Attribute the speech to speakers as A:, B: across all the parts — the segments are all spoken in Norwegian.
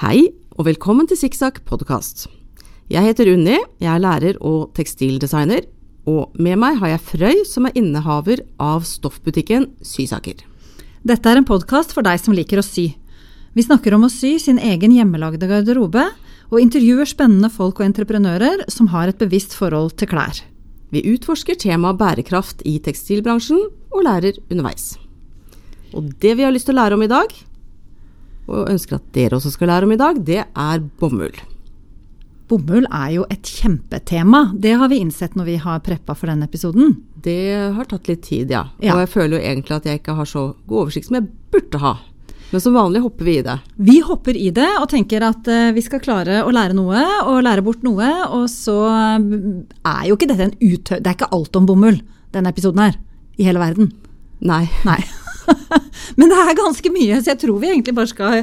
A: og velkommen til Sikksakk podkast. Jeg heter Unni, jeg er lærer og tekstildesigner, og med meg har jeg Frøy, som er innehaver av stoffbutikken Sysaker.
B: Dette er en podkast for deg som liker å sy. Vi snakker om å sy sin egen hjemmelagde garderobe, og intervjuer spennende folk og entreprenører som har et bevisst forhold til klær.
A: Vi utforsker temaet bærekraft i tekstilbransjen, og lærer underveis. Og det vi har lyst til å lære om i dag, og ønsker at dere også skal lære om i dag, det er bomull.
B: Bomull er jo et kjempetema, det har vi innsett når vi har preppa for denne episoden.
A: Det har tatt litt tid, ja.
B: Ja.
A: Og jeg føler jo egentlig at jeg ikke har så god oversikt som jeg burde ha. Men som vanlig hopper vi i det.
B: Vi hopper i det og tenker at eh, vi skal klare å lære noe og lære bort noe, og så eh, er jo ikke dette en uttø... Det er ikke alt om bomull, denne episoden her, i hele verden.
A: Nei.
B: Nei. Men det er ganske mye, så jeg tror vi egentlig bare skal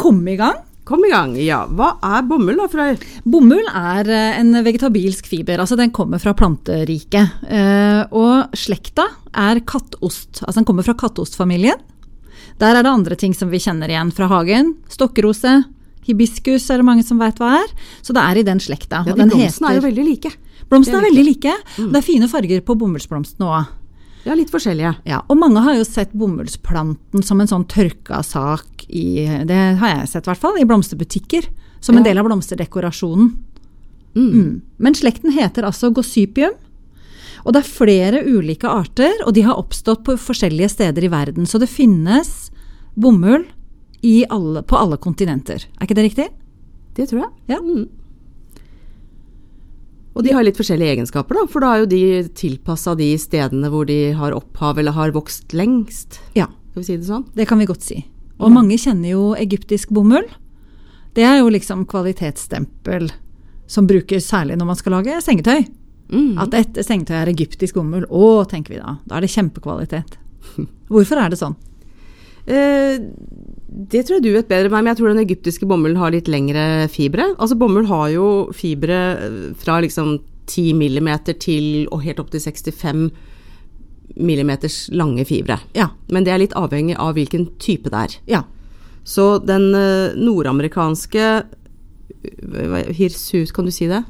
B: komme i gang.
A: Kom i gang. Ja, hva er bomull da, Frøy?
B: Bomull er eh, en vegetabilsk fiber, altså den kommer fra planteriket. Eh, Og slekta er kattost, altså den kommer fra kattostfamilien. Der er det andre ting som vi kjenner igjen fra hagen. Stokkrose, hibiskus er det mange som veit hva er. Så det er i den slekta.
A: Ja,
B: og
A: de
B: den
A: blomstene er jo
B: heter-
A: veldig like.
B: Blomstene er veldig like.
A: Mm.
B: og Det er fine farger på bomullsblomstene òg.
A: Ja, litt forskjellige.
B: Ja, og mange har jo sett bomullsplanten som en sånn tørka sak i Det har jeg sett, i hvert fall. I blomsterbutikker. Som en
A: Ja.
B: del av blomsterdekorasjonen.
A: Mm.
B: Mm. Men slekten heter altså gossypium. Og det er flere ulike arter, og de har oppstått på forskjellige steder i verden. Så det finnes bomull i alle, på alle kontinenter. Er ikke det riktig?
A: Det tror jeg.
B: Ja.
A: Mm. Og de har litt forskjellige egenskaper, da, for da er jo de tilpassa de stedene hvor de har opphav eller har vokst lengst.
B: Ja.
A: Skal vi si det sånn?
B: Det kan vi godt si. Og mange kjenner jo egyptisk bomull. Det er jo liksom kvalitetsstempel som brukes særlig når man skal lage sengetøy.
A: Mm.
B: At dette sengetøyet er egyptisk bomull. Å, tenker vi da. Da er det kjempekvalitet. Hvorfor er det sånn?
A: Eh, det tror jeg du vet bedre enn meg, men jeg tror den egyptiske bomullen har litt lengre fibre. Altså bomull har jo fibre eh, fra liksom 10 millimeter til og helt opp til 65 millimeters lange fibre.
B: Ja.
A: Men det er litt avhengig av hvilken type det er.
B: Ja.
A: Så den eh, nordamerikanske hva- hva- Hirsut, kan du si det?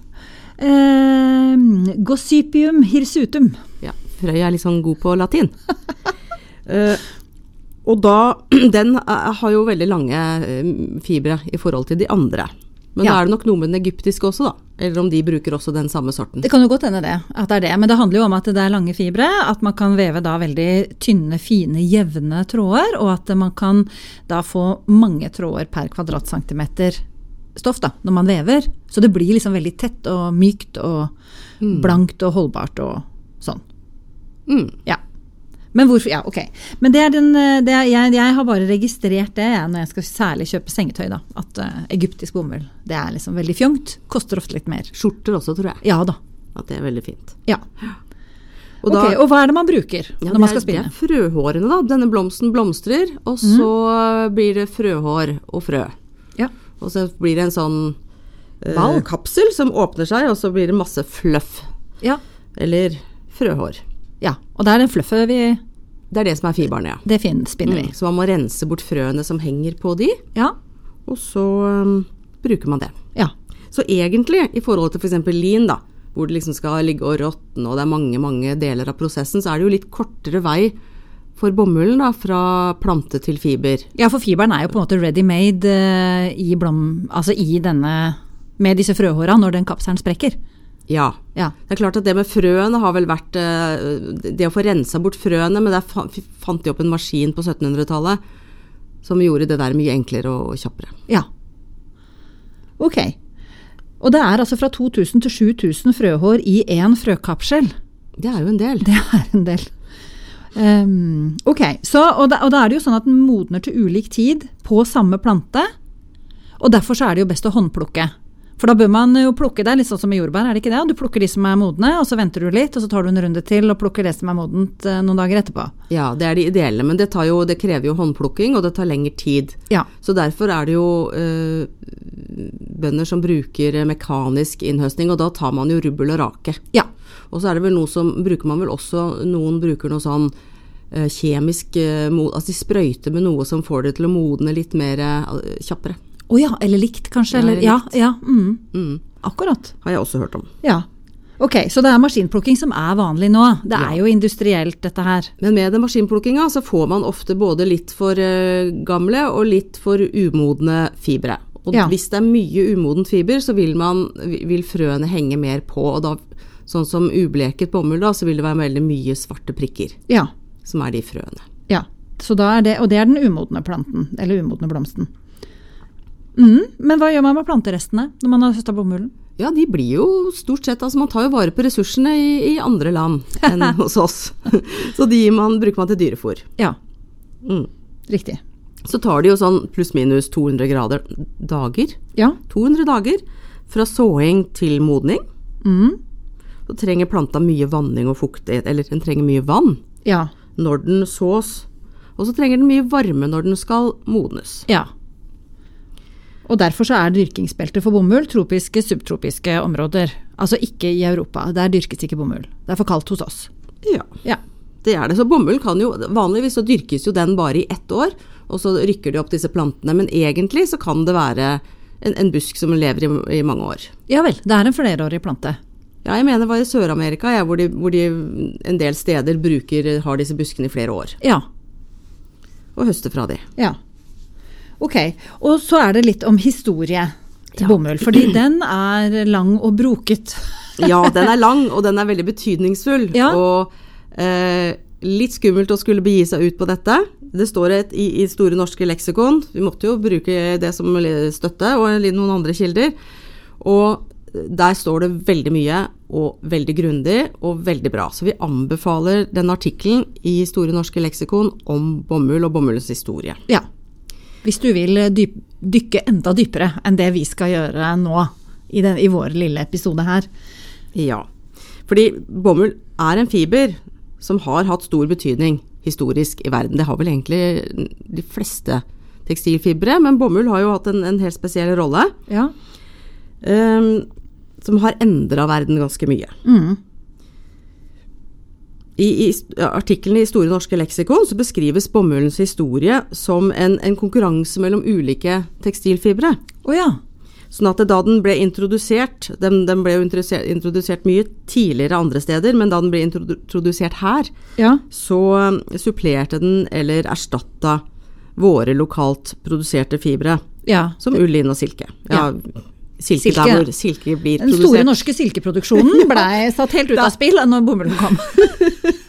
B: Eh, gossypium hirsutum.
A: Ja, Frøy er litt sånn god på latin. Eh, og da Den eh, har jo veldig lange eh, fibre i forhold til de andre. Men da
B: Ja.
A: er det nok noe med den egyptiske også, da. Eller om de bruker også den samme sorten.
B: Det kan jo godt hende det, at det er det. Men det handler jo om at det er lange fibre. At man kan veve da veldig tynne, fine, jevne tråder. Og at man kan da få mange tråder per kvadratcentimeter stoff da, når man vever. Så det blir liksom veldig tett og mykt og blankt og holdbart og sånn.
A: Mm.
B: Ja. Men hvorfor Ja, ok. Men det er den eh, det er, jeg, jeg har bare registrert det jeg, når jeg skal særlig kjøpe sengetøy, da. At eh, egyptisk bomull, det er liksom veldig fjongt. Koster ofte litt mer.
A: Skjorter også, tror jeg.
B: Ja da.
A: At det er veldig fint.
B: Ja.
A: Og
B: ok, og hva er det man bruker
A: Ja,
B: når man
A: det er-
B: skal spinne?
A: Det er frøhårene, da. Denne blomsten blomstrer, og
B: Mhm.
A: så blir det frøhår og frø.
B: Ja.
A: Og så blir det en sånn eh,
B: Ball.
A: kapsel som åpner seg, og så blir det masse fluff.
B: Ja.
A: Eller frøhår.
B: ja. Og det er den fluffet vi
A: Det er det som er fiberne, ja.
B: Det fin, spinner vi.
A: Mm. Så man må rense bort frøene som henger på de,
B: Ja.
A: og så um, bruker man det.
B: ja.
A: Så egentlig, i forhold til f.eks. lin, da, hvor det liksom skal ligge og råtne, og det er mange, mange deler av prosessen, så er det jo litt kortere vei for bomullen, da, fra plante til fiber.
B: Ja, for fiberen er jo på en måte ready made eh, i blom... Altså i denne Med disse frøhåra når den kapselen sprekker.
A: Ja.
B: Ja.
A: Det er klart at det med frøene har vel vært eh, Det å få rensa bort frøene, men der fa- fant de opp en maskin på 1700-tallet som gjorde det der mye enklere og og kjappere.
B: Ja. Ok. Og det er altså fra 2000 til 7000 frøhår i én frøkapsel.
A: Det er jo en del.
B: Det er en del. Ehm, ok, så, og, da, og da er det jo sånn at den modner til ulik tid på samme plante. Og derfor så er det jo best å håndplukke. For da bør man jo plukke det er litt sånn som med jordbær, er det ikke det? Du plukker de som er modne, og så venter du litt, og så tar du en runde til og plukker det som er modent eh, noen dager etterpå.
A: Ja, det er de ideelle, men det, tar jo, det krever jo håndplukking, og det tar lengre tid.
B: Ja.
A: Så derfor er det jo eh, bønder som bruker eh, mekanisk innhøstning, og da tar man jo rubbel og rake.
B: Ja.
A: Og så er det vel noe som bruker man vel også Noen bruker noe sånn eh, kjemisk eh, mo- Altså de sprøyter med noe som får det til å modne litt mer eh, kjappere.
B: Å Å ja, eller likt, kanskje.
A: Ja,
B: Eller,
A: eller
B: ja, ja, mm,
A: Mm,
B: akkurat.
A: har jeg også hørt om.
B: Ja. Ok, så det er maskinplukking som er vanlig nå. Det er jo industrielt, dette her.
A: Men med den maskinplukkinga så får man ofte både litt for eh, gamle og litt for umodne fibre. Og
B: Ja.
A: hvis det er mye umodent fiber, så vil, man, vil frøene henge mer på. Og da, sånn som ubleket bomull, da, så vil det være veldig mye svarte prikker
B: Ja.
A: som er de frøene.
B: ja. Så da er det, og det er den umodne planten, eller umodne blomsten. Mm, men hva gjør man med planterestene når man har høsta bomullen?
A: Ja, de blir jo stort sett Altså, man tar jo vare på ressursene i, i andre land enn hos oss. Så de gir man, bruker man til dyrefôr.
B: Ja,
A: Mm.
B: riktig.
A: Så tar det jo sånn pluss-minus 200 grader dager.
B: Ja.
A: 200 dager fra såing til modning.
B: Mm,
A: Så trenger planta mye vanning og fuktighet, eller den trenger mye vann
B: ja.
A: når den sås. Og så trenger den mye varme når den skal modnes.
B: Ja. Og derfor så er dyrkingsbeltet for bomull tropiske, subtropiske områder. Altså ikke i Europa. Der dyrkes ikke bomull. Det er for kaldt hos oss.
A: Ja,
B: Ja.
A: det er det. Så bomull kan jo Vanligvis så dyrkes jo den bare i ett år, og så rykker de opp disse plantene. Men egentlig så kan det være en, en busk som lever i, i mange år.
B: Ja vel. Det er en flerårig plante.
A: Ja, jeg mener det var i Sør-Amerika jeg, hvor, de, hvor de en del steder bruker, har disse buskene i flere år,
B: Ja.
A: og høster fra de.
B: Ja. Ok. Og så er det litt om historie til bomull. Fordi den er lang og broket.
A: Ja, den er lang, og den er veldig betydningsfull.
B: Ja.
A: Og eh, litt skummelt å skulle begi seg ut på dette. Det står et, i, i Store norske leksikon, vi måtte jo bruke det som le- støtte, og litt noen andre kilder. Og der står det veldig mye, og veldig grundig, og veldig bra. Så vi anbefaler den artikkelen i Store norske leksikon om bomull og bomullens historie.
B: Ja. Hvis du vil eh, dyp, dykke enda dypere enn det vi skal gjøre nå i, den, i vår lille episode her.
A: Ja. Fordi bomull er en fiber som har hatt stor betydning historisk i verden. Det har vel egentlig de fleste tekstilfibre, men bomull har jo hatt en, en helt spesiell rolle.
B: Ja.
A: ehm, som har endra verden ganske mye.
B: Mm.
A: I, i st- artikkelen i Store norske leksikon så beskrives bomullens historie som en, en konkurranse mellom ulike tekstilfibre.
B: Å ja.
A: Sånn at det, da den ble introdusert, den, den ble jo introdusert, introdusert mye tidligere andre steder, men da den ble introdu- introdusert her,
B: Ja.
A: så eh, supplerte den eller erstatta våre lokalt produserte fibre,
B: ja.
A: som ull, lin og silke. Ja, silke,
B: Silke.
A: der hvor silke blir
B: Den store
A: produsert.
B: norske silkeproduksjonen blei satt helt ut av spill når bomullen kom.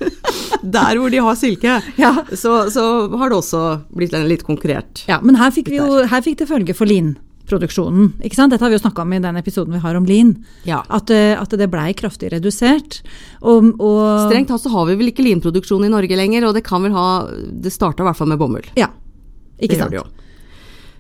A: Der hvor de har silke,
B: Ja.
A: så, så har det også blitt en litt konkurrert.
B: Ja, Men her fikk, vi jo, her fikk det følge for linproduksjonen. Ikke sant? Dette har vi jo snakka om i den episoden vi har om lin.
A: Ja.
B: At, eh, at det blei kraftig redusert. Og, og
A: Strengt tatt så har vi vel ikke linproduksjon i Norge lenger, og det kan vel ha Det starta i hvert fall med bomull.
B: Ja. Ikke sant.
A: Det gjør det jo.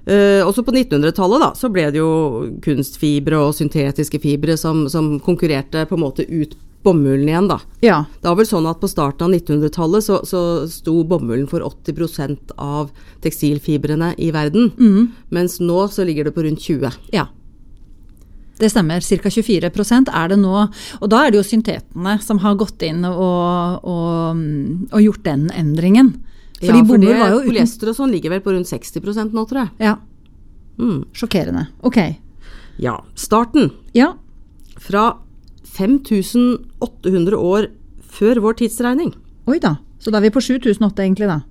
A: Eh, også på 1900-tallet da, så ble det jo kunstfibre og syntetiske fibre som, som konkurrerte på en måte ut bomullen igjen, da.
B: Ja.
A: Det var vel sånn at på starten av 1900-tallet så, så sto bomullen for 80 av tekstilfibrene i verden. Mens nå så ligger det på rundt 20.
B: ja. Det stemmer. Ca. 24 er det nå. Og da er det jo syntetene som har gått inn og, og, og gjort den endringen. Fordi
A: for
B: bomull
A: det-
B: var jo uten
A: Polyester og sånn ligger vel på rundt 60 nå, tror jeg.
B: Ja.
A: Mm.
B: Sjokkerende. Ok.
A: Ja. Starten
B: Ja.
A: fra 5800 år før vår tidsregning.
B: Oi da. Så da er vi på 7008 egentlig, da.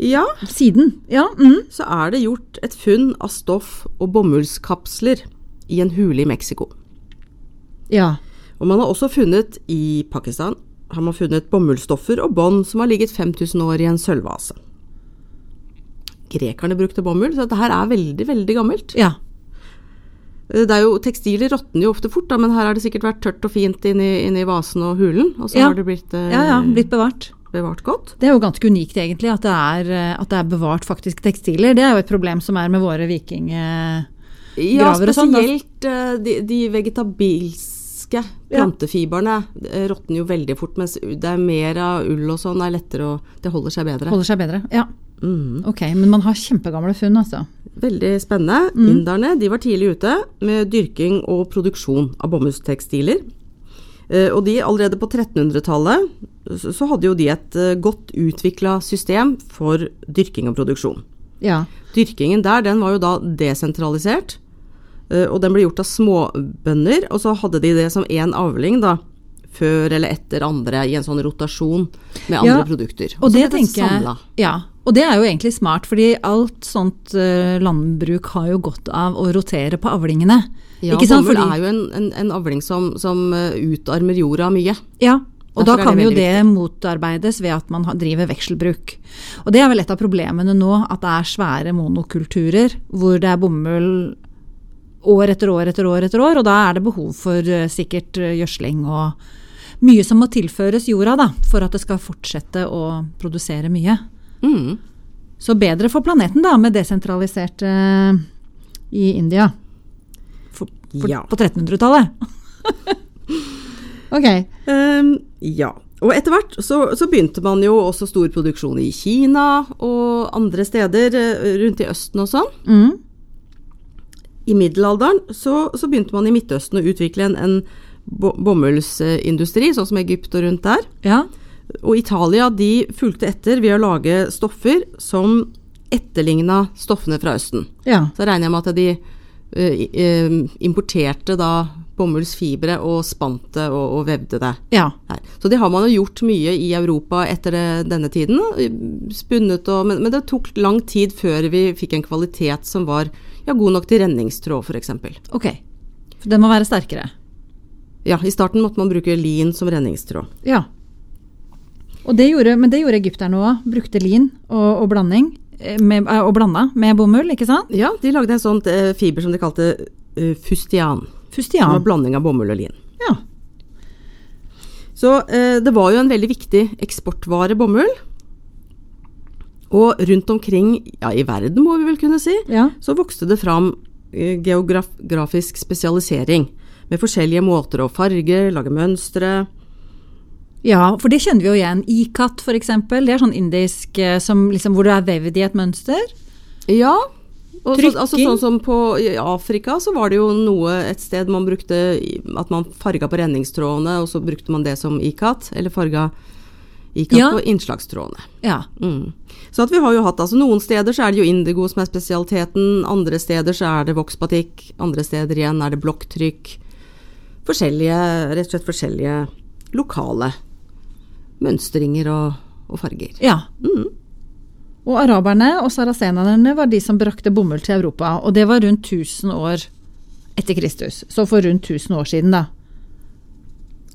A: Ja,
B: Siden. Ja. Mm.
A: så er det gjort et funn av stoff og bomullskapsler i en hule i Mexico.
B: Ja.
A: Og man har også funnet i Pakistan har man funnet bomullsstoffer og bånd som har ligget 5000 år i en sølvvase. Grekerne brukte bomull, så dette her er veldig, veldig gammelt.
B: ja.
A: Det er jo, tekstiler råtner jo ofte fort, da, men her har det sikkert vært tørt og fint inni, inni vasen og hulen, og så
B: Ja.
A: har det blitt, eh,
B: Ja, ja. Blitt bevart.
A: bevart godt.
B: Det er jo ganske unikt, egentlig, at det er, eh, at det er bevart faktisk tekstiler. Det er jo et problem som er med våre viking... eh,
A: Ja,
B: Graver og sånn, da.
A: spesielt eh, de, de vegetabilske
B: Ja.
A: plantefibrene eh, råtner jo veldig fort, mens det er mer av ull og sånn, det er lettere å Det holder seg bedre.
B: Holder seg bedre. Ja.
A: Mm.
B: Ok, men man har kjempegamle funn, altså.
A: Veldig spennende.
B: Mm.
A: Inderne de var tidlig ute med dyrking og produksjon av bomullstekstiler. Eh, Og de allerede på 1300-tallet så så hadde jo de et eh, godt utvikla system for dyrking og produksjon.
B: Ja.
A: Dyrkingen der, den var jo da desentralisert. eh, Og den ble gjort av småbønder, og så hadde de det som én avling, da. Før eller etter andre, i en sånn rotasjon med andre
B: Ja,
A: produkter.
B: Og
A: så
B: det
A: ble
B: tenker jeg
A: samlet.
B: ja, og det er jo egentlig smart, fordi alt sånt eh, landbruk har jo godt av å rotere på avlingene.
A: Ja,
B: ikke sant?
A: bomull
B: Fordi-
A: er jo en, en, en avling som, som eh, utarmer jorda mye.
B: Ja, og da
A: Derfor er
B: kan
A: det
B: jo
A: veldig
B: det motarbeides ved at man ha- driver vekselbruk. Og det er vel et av problemene nå, at det er svære monokulturer hvor det er bomull år etter år etter år etter år, og da er det behov for eh, sikkert eh, gjødsling og mye som må tilføres jorda da, for at det skal fortsette å produsere mye.
A: Mm.
B: Så bedre for planeten da, med desentralisert eh, i India. For, for,
A: Ja.
B: På 1300-tallet. ok.
A: Ehm, ja. Og etter hvert så, så begynte man jo også stor produksjon i Kina og andre steder eh, rundt i Østen og sånn.
B: Mm.
A: I middelalderen så, så begynte man i Midtøsten å utvikle en, en bo- bomullsindustri, sånn som Egypt og rundt der.
B: Ja.
A: Og Italia de fulgte etter ved å lage stoffer som etterligna stoffene fra Østen.
B: ja.
A: Så regner jeg med at de eh, i- eh, importerte da bomullsfibre og spant det og, og vevde det.
B: Ja.
A: her. Så det har man jo gjort mye i Europa etter det, denne tiden. eh, Spunnet og men, men det tok lang tid før vi fikk en kvalitet som var ja, god nok til renningstråd, f.eks.
B: Ok. For den må være sterkere.
A: Ja, i starten måtte man bruke lin som renningstråd.
B: Ja. Og det gjorde, men det gjorde egypterne òg. Brukte lin og, og blanding. eh, Med, eh, og blanda med bomull, ikke sant?
A: Ja, de lagde en sånn eh, fiber som de kalte eh, fustian. Det var
B: Fustian.
A: blanding av bomull og lin.
B: Ja.
A: Så eh, det var jo en veldig viktig eksportvare, bomull. Og rundt omkring ja, i verden, må vi vel kunne si,
B: Ja.
A: så vokste det fram eh, geografisk spesialisering. Med forskjellige måter å farge, lage mønstre
B: Ja, for det kjenner vi jo igjen. Ikat, for eksempel. Det er sånn indisk eh, som, liksom, hvor du er vevd i et mønster.
A: Ja. Og så,
B: Trykking.
A: altså sånn som på i Afrika, så var det jo noe et sted man brukte i- At man farga på renningstrådene, og så brukte man det som ikat. Eller farga ikat
B: Ja.
A: på innslagstrådene.
B: Ja.
A: Mm. Så at vi har jo hatt, altså Noen steder så er det jo indigo som er spesialiteten, andre steder så er det voksbatikk, andre steder igjen er det blokktrykk. Forskjellige, rett og slett forskjellige lokale mønstringer og, og farger.
B: Ja. Mm. Og araberne og sarasenerne var de som brakte bomull til Europa. Og det var rundt 1000 år etter Kristus. Så for rundt 1000 år siden, da.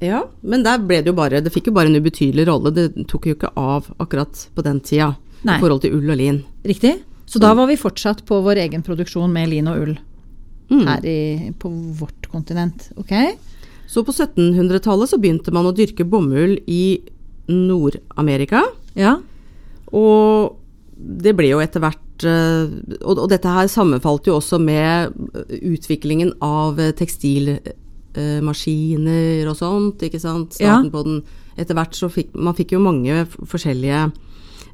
A: Ja, Men der ble det jo bare, det fikk jo bare en ubetydelig rolle, det tok jo ikke av akkurat på den tida
B: Nei.
A: i forhold til ull og lin.
B: Riktig? Så da var vi fortsatt på vår egen produksjon med lin og ull. Her i, på vårt kontinent. Ok?
A: Så på 1700-tallet så begynte man å dyrke bomull i Nord-Amerika.
B: Ja.
A: Og det ble jo etter hvert eh, Og, og dette her sammenfalt jo også med eh, utviklingen av tekstilmaskiner og sånt, ikke sant.
B: Ja.
A: Starten på den Etter hvert så fikk man fikk jo mange f- forskjellige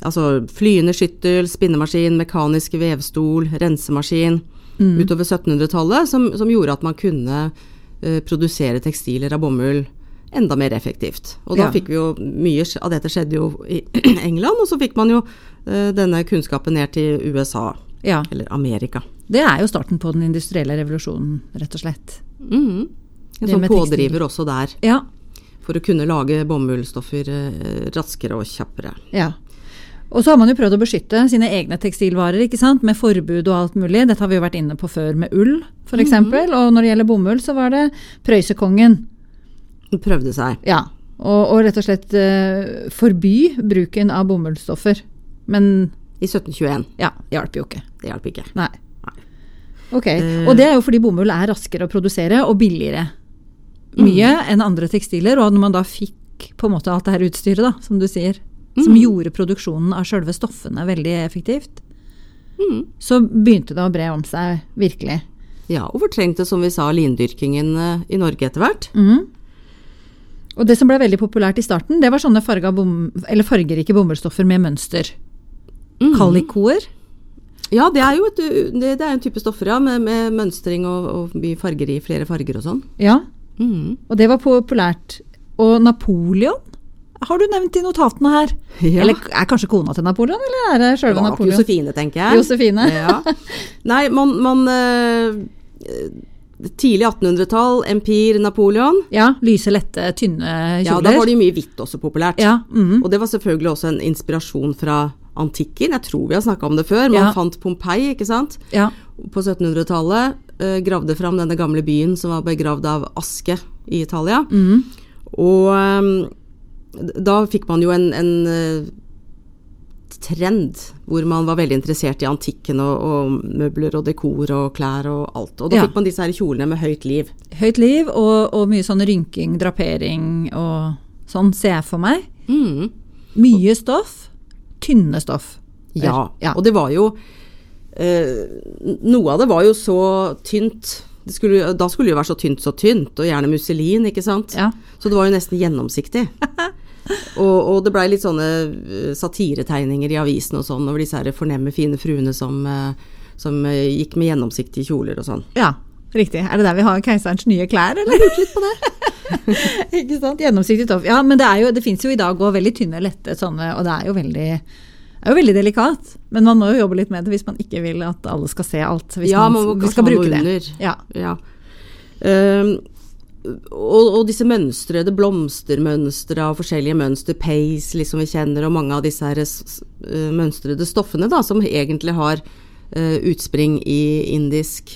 A: Altså flyende skyttel, spinnemaskin, mekaniske vevstol, rensemaskin.
B: Mm.
A: Utover 1700-tallet som, som gjorde at man kunne eh, produsere tekstiler av bomull enda mer effektivt. Og da
B: Ja.
A: fikk fikk vi jo mye sk- av dette skjedde jo i England, og så fikk man jo eh, denne kunnskapen ned til USA,
B: ja.
A: eller Amerika.
B: Det er jo starten på den industrielle revolusjonen, rett og slett.
A: Mhm. En
B: Mm-hmm. Det
A: sånn
B: med tekstil.
A: pådriver også der,
B: Ja.
A: for å kunne lage bomullsstoffer eh, raskere og kjappere.
B: ja. Og så har man jo prøvd å beskytte sine egne tekstilvarer ikke sant? med forbud og alt mulig. Dette har vi jo vært inne på før med ull, f.eks. eksempel. Og når det gjelder bomull, så var det Prøysekongen.
A: Hun prøvde seg.
B: Ja. Og, og rett og slett eh, forby bruken av bomullsstoffer. Men
A: I 1721.
B: ja, hjalp jo ikke.
A: Det hjalp ikke.
B: Nei. Eh. Ok, Og det er jo fordi bomull er raskere å produsere og billigere mye enn andre tekstiler. Og når man da fikk på en måte alt det her utstyret, da, som du sier, som gjorde produksjonen av sjølve stoffene veldig effektivt, så begynte det å bre om seg virkelig.
A: Ja, og fortrengte, som vi sa, lindyrkingen eh, i Norge etter hvert.
B: Mm. Og det som ble veldig populært i starten, det var sånne farga bom, eller fargerike bomullsstoffer med mønster. Mm. Kalikoer.
A: Ja, det er jo et, u- det, det er en type stoffer, ja, med, med mønstring og, og mye farger i flere farger og sånn.
B: Ja.
A: Mhm.
B: Og det var populært. Og Napoleon har du nevnt i notatene her.
A: Ja.
B: Eller er kanskje kona til Napoleon, eller er det sjølve
A: Bak
B: Napoleon?
A: Josefine, tenker jeg.
B: Josefine.
A: ja. Nei, man, man eh, Tidlig 1800-tall, empir, Napoleon.
B: Ja, lyse, lette, tynne kjoler.
A: Ja, da var det jo mye hvitt også populært.
B: Ja, mhm.
A: Og det var selvfølgelig også en inspirasjon fra antikken. Jeg tror vi har snakka om det før. Man
B: Ja.
A: fant Pompeii, ikke sant?
B: ja.
A: På 1700-tallet eh, gravde fram denne gamle byen som var begravd av aske i Italia. Og eh, da fikk man jo en, en eh, trend hvor man var veldig interessert i antikken og, og møbler og dekor og klær og alt. Og da
B: Ja.
A: fikk man disse her kjolene med høyt liv.
B: Høyt liv og, og mye sånn rynking, drapering og sånn, ser jeg for meg.
A: Mm.
B: Mye stoff, tynne stoff.
A: Ja,
B: Ja.
A: og det var jo eh, Noe av det var jo så tynt. Det skulle, da skulle det jo være så tynt, så tynt, og gjerne musselin, ikke sant.
B: Ja.
A: Så det var jo nesten gjennomsiktig. og, og det blei litt sånne eh, satiretegninger i avisen og sånn over disse her fornemme, fine fruene som, eh, som eh, gikk med gjennomsiktige kjoler og sånn.
B: Ja, riktig. Er det der vi har keiserens nye klær, eller? Lurte litt på det. Ikke sant? Gjennomsiktig stoff. Ja, men det, er jo, det fins jo i dag òg veldig tynne, lette sånne, og det er jo veldig det er jo veldig delikat, men man må jo jobbe litt med det hvis man ikke vil at alle skal se alt. Hvis
A: Ja, man
B: man,
A: må
B: vi
A: kanskje
B: skal
A: ha
B: bruke
A: noe
B: det.
A: under.
B: Ja.
A: Ja. Ehm, og, og disse mønstre, det blomstermønstre av forskjellige mønster, peis liksom vi kjenner, og mange av disse her s- s- eh, mønstrede stoffene da, som egentlig har eh, utspring i indisk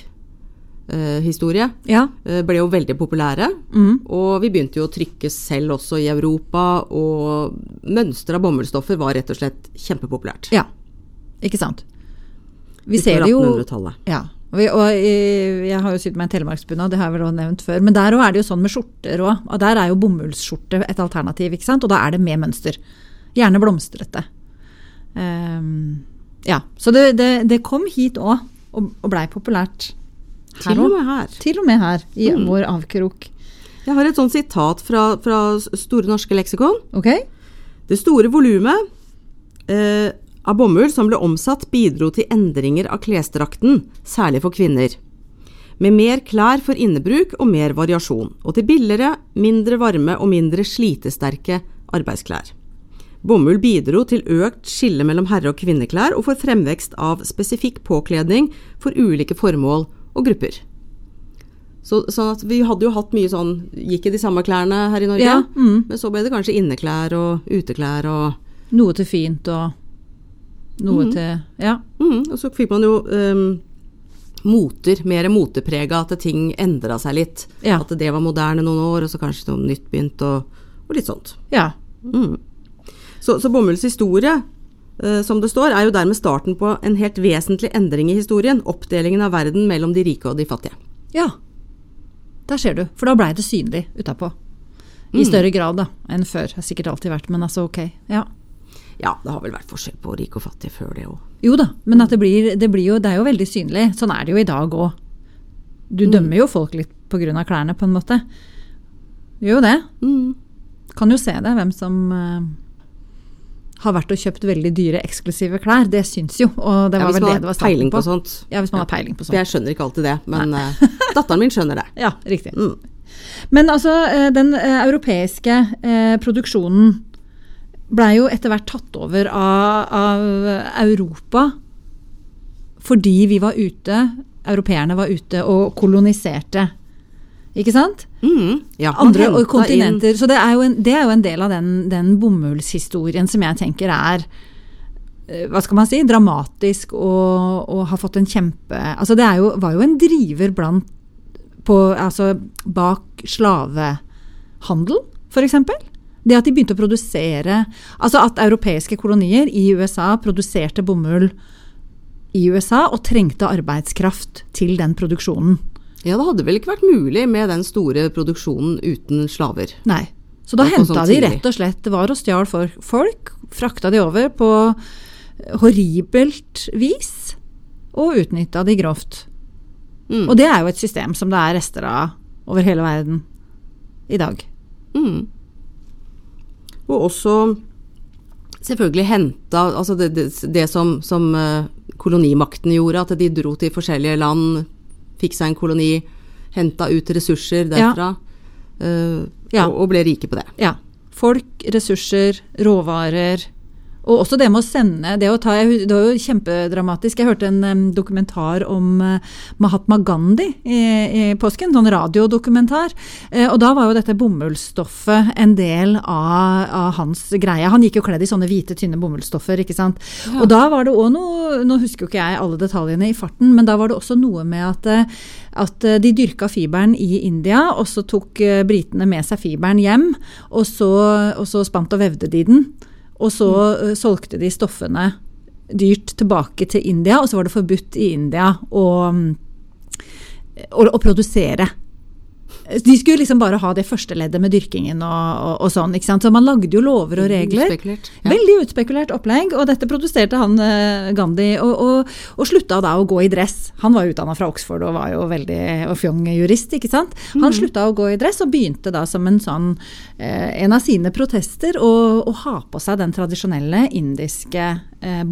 A: eh, historie,
B: ja.
A: eh, ble jo veldig populære.
B: Mm.
A: Og vi begynte jo å trykke selv også i Europa, og mønstre av bomullsstoffer var rett og slett kjempepopulært.
B: ja. Ikke sant.
A: utover
B: Vi ser det jo
A: 1800-tallet.
B: Ja. Og, vi- og eh, jeg har jo sydd meg en telemarksbunad, det har jeg vel også nevnt før. Men der også er det jo sånn med skjorter òg. Og der er jo bomullsskjorte et alternativ, ikke sant. Og da er det med mønster. Gjerne blomstrete. Ehm, ja. Så det, det, det kom hit òg, og, og blei populært. Her
A: Til og
B: også.
A: med Mm. her.
B: Til og med her, i vår avkrok.
A: Jeg har et sånt sitat fra, fra Store norske leksikon.
B: Ok?
A: Det store volumet eh, av bomull som ble omsatt, bidro til endringer av klesdrakten, særlig for kvinner. Med mer klær for innebruk og mer variasjon, og til billigere, mindre varme og mindre slitesterke arbeidsklær. Bomull bidro til økt skille mellom herre- og kvinneklær, og for fremvekst av spesifikk påkledning for ulike formål og grupper. Så, sånn at vi hadde jo hatt mye sånn Gikk i de samme klærne her i Norge.
B: Ja, mm.
A: Men så ble det kanskje inneklær og uteklær og
B: Noe til fint og noe til Ja.
A: mm, Og så fikk man jo ehm, moter, mer moteprega, at ting endra seg litt.
B: Ja.
A: At det var moderne noen år, og så kanskje noe nytt begynt, og, og litt sånt.
B: ja.
A: Mm. Så, så bommulls historie, eh, som det står, er jo dermed starten på en helt vesentlig endring i historien. Oppdelingen av verden mellom de rike og de fattige.
B: Ja. Der ser du. For da blei det synlig utapå.
A: Mm.
B: I større grad da, enn før. Det har sikkert alltid vært, men altså ok. Ja.
A: Ja, det har vel vært forskjell på rik og fattig før det òg.
B: Jo da, men at det, blir, det, blir jo, det er jo veldig synlig. Sånn er det jo i dag òg. Du
A: Mm.
B: dømmer jo folk litt pga. klærne, på en måte. Du gjør jo det.
A: Mm.
B: Kan jo se det, hvem som eh, har vært og kjøpt veldig dyre, eksklusive klær. Det syns jo, og det
A: Ja,
B: var
A: hvis
B: vel
A: man
B: det
A: har
B: det var
A: peiling
B: starten
A: på
B: på.
A: sånt.
B: Ja, hvis man har peiling på sånt.
A: For jeg skjønner ikke alltid det, men eh, datteren min skjønner det.
B: Ja, riktig.
A: Mm.
B: Men altså, eh, den eh, europeiske eh, produksjonen blei jo etter hvert tatt over av, av Europa fordi vi var ute, europeerne var ute og koloniserte. Ikke sant?
A: Mm, ja, man
B: Andre
A: hentet inn-
B: kontinenter. Så det er, jo en, det er jo en del av den, den bomullshistorien som jeg tenker er eh, hva skal man si, dramatisk og, og har fått en kjempe altså Det er jo, var jo en driver blant på, altså, bak slavehandel, f.eks. Det at de begynte å produsere Altså at europeiske kolonier i USA produserte bomull i USA og trengte arbeidskraft til den produksjonen.
A: Ja, det hadde vel ikke vært mulig med den store produksjonen uten slaver.
B: Nei. Så da
A: Det kom
B: henta
A: sånn
B: de
A: tidlig.
B: rett og slett Det var og stjal for folk, frakta de over på eh, horribelt vis, og utnytta de grovt.
A: Mm.
B: Og det er jo et system som det er rester av over hele verden i dag.
A: Mm. Og også selvfølgelig henta altså det, det, det som, som eh, kolonimakten gjorde, at de dro til forskjellige land, fikk seg en koloni, henta ut ressurser derfra. eh,
B: Ja.
A: og, og ble rike på det.
B: Ja. Folk, ressurser, råvarer. Og også det med å sende det, å ta, jeg- det var jo kjempedramatisk. Jeg hørte en em, dokumentar om eh, Mahatma Gandhi i, i påsken. Sånn radiodokumentar. Eh, og da var jo dette bomullsstoffet en del av, av hans greie. Han gikk jo kledd i sånne hvite, tynne bomullsstoffer. ikke sant? Og da var det òg noe Nå husker jo ikke jeg alle detaljene i farten, men da var det også noe med at, eh, at eh, de dyrka fiberen i India, og så tok eh, britene med seg fiberen hjem, og så, og så spant og vevde de den. Og så eh, solgte de stoffene dyrt tilbake til India, og så var det forbudt i India å, mm, å, å produsere. De skulle liksom bare ha det første leddet med dyrkingen og, og, og sånn. ikke sant? Så man lagde jo lover og regler.
A: Utspekulert. Ja.
B: Veldig utspekulert opplegg, og dette produserte han eh, Gandhi. Og, og, og slutta da å gå i dress. Han var utdanna fra Oxford og var jo veldig og fjong jurist, ikke sant.
A: Mhm.
B: Han slutta å gå i dress og begynte da som en sånn eh, en av sine protester å, å ha på seg den tradisjonelle indiske eh,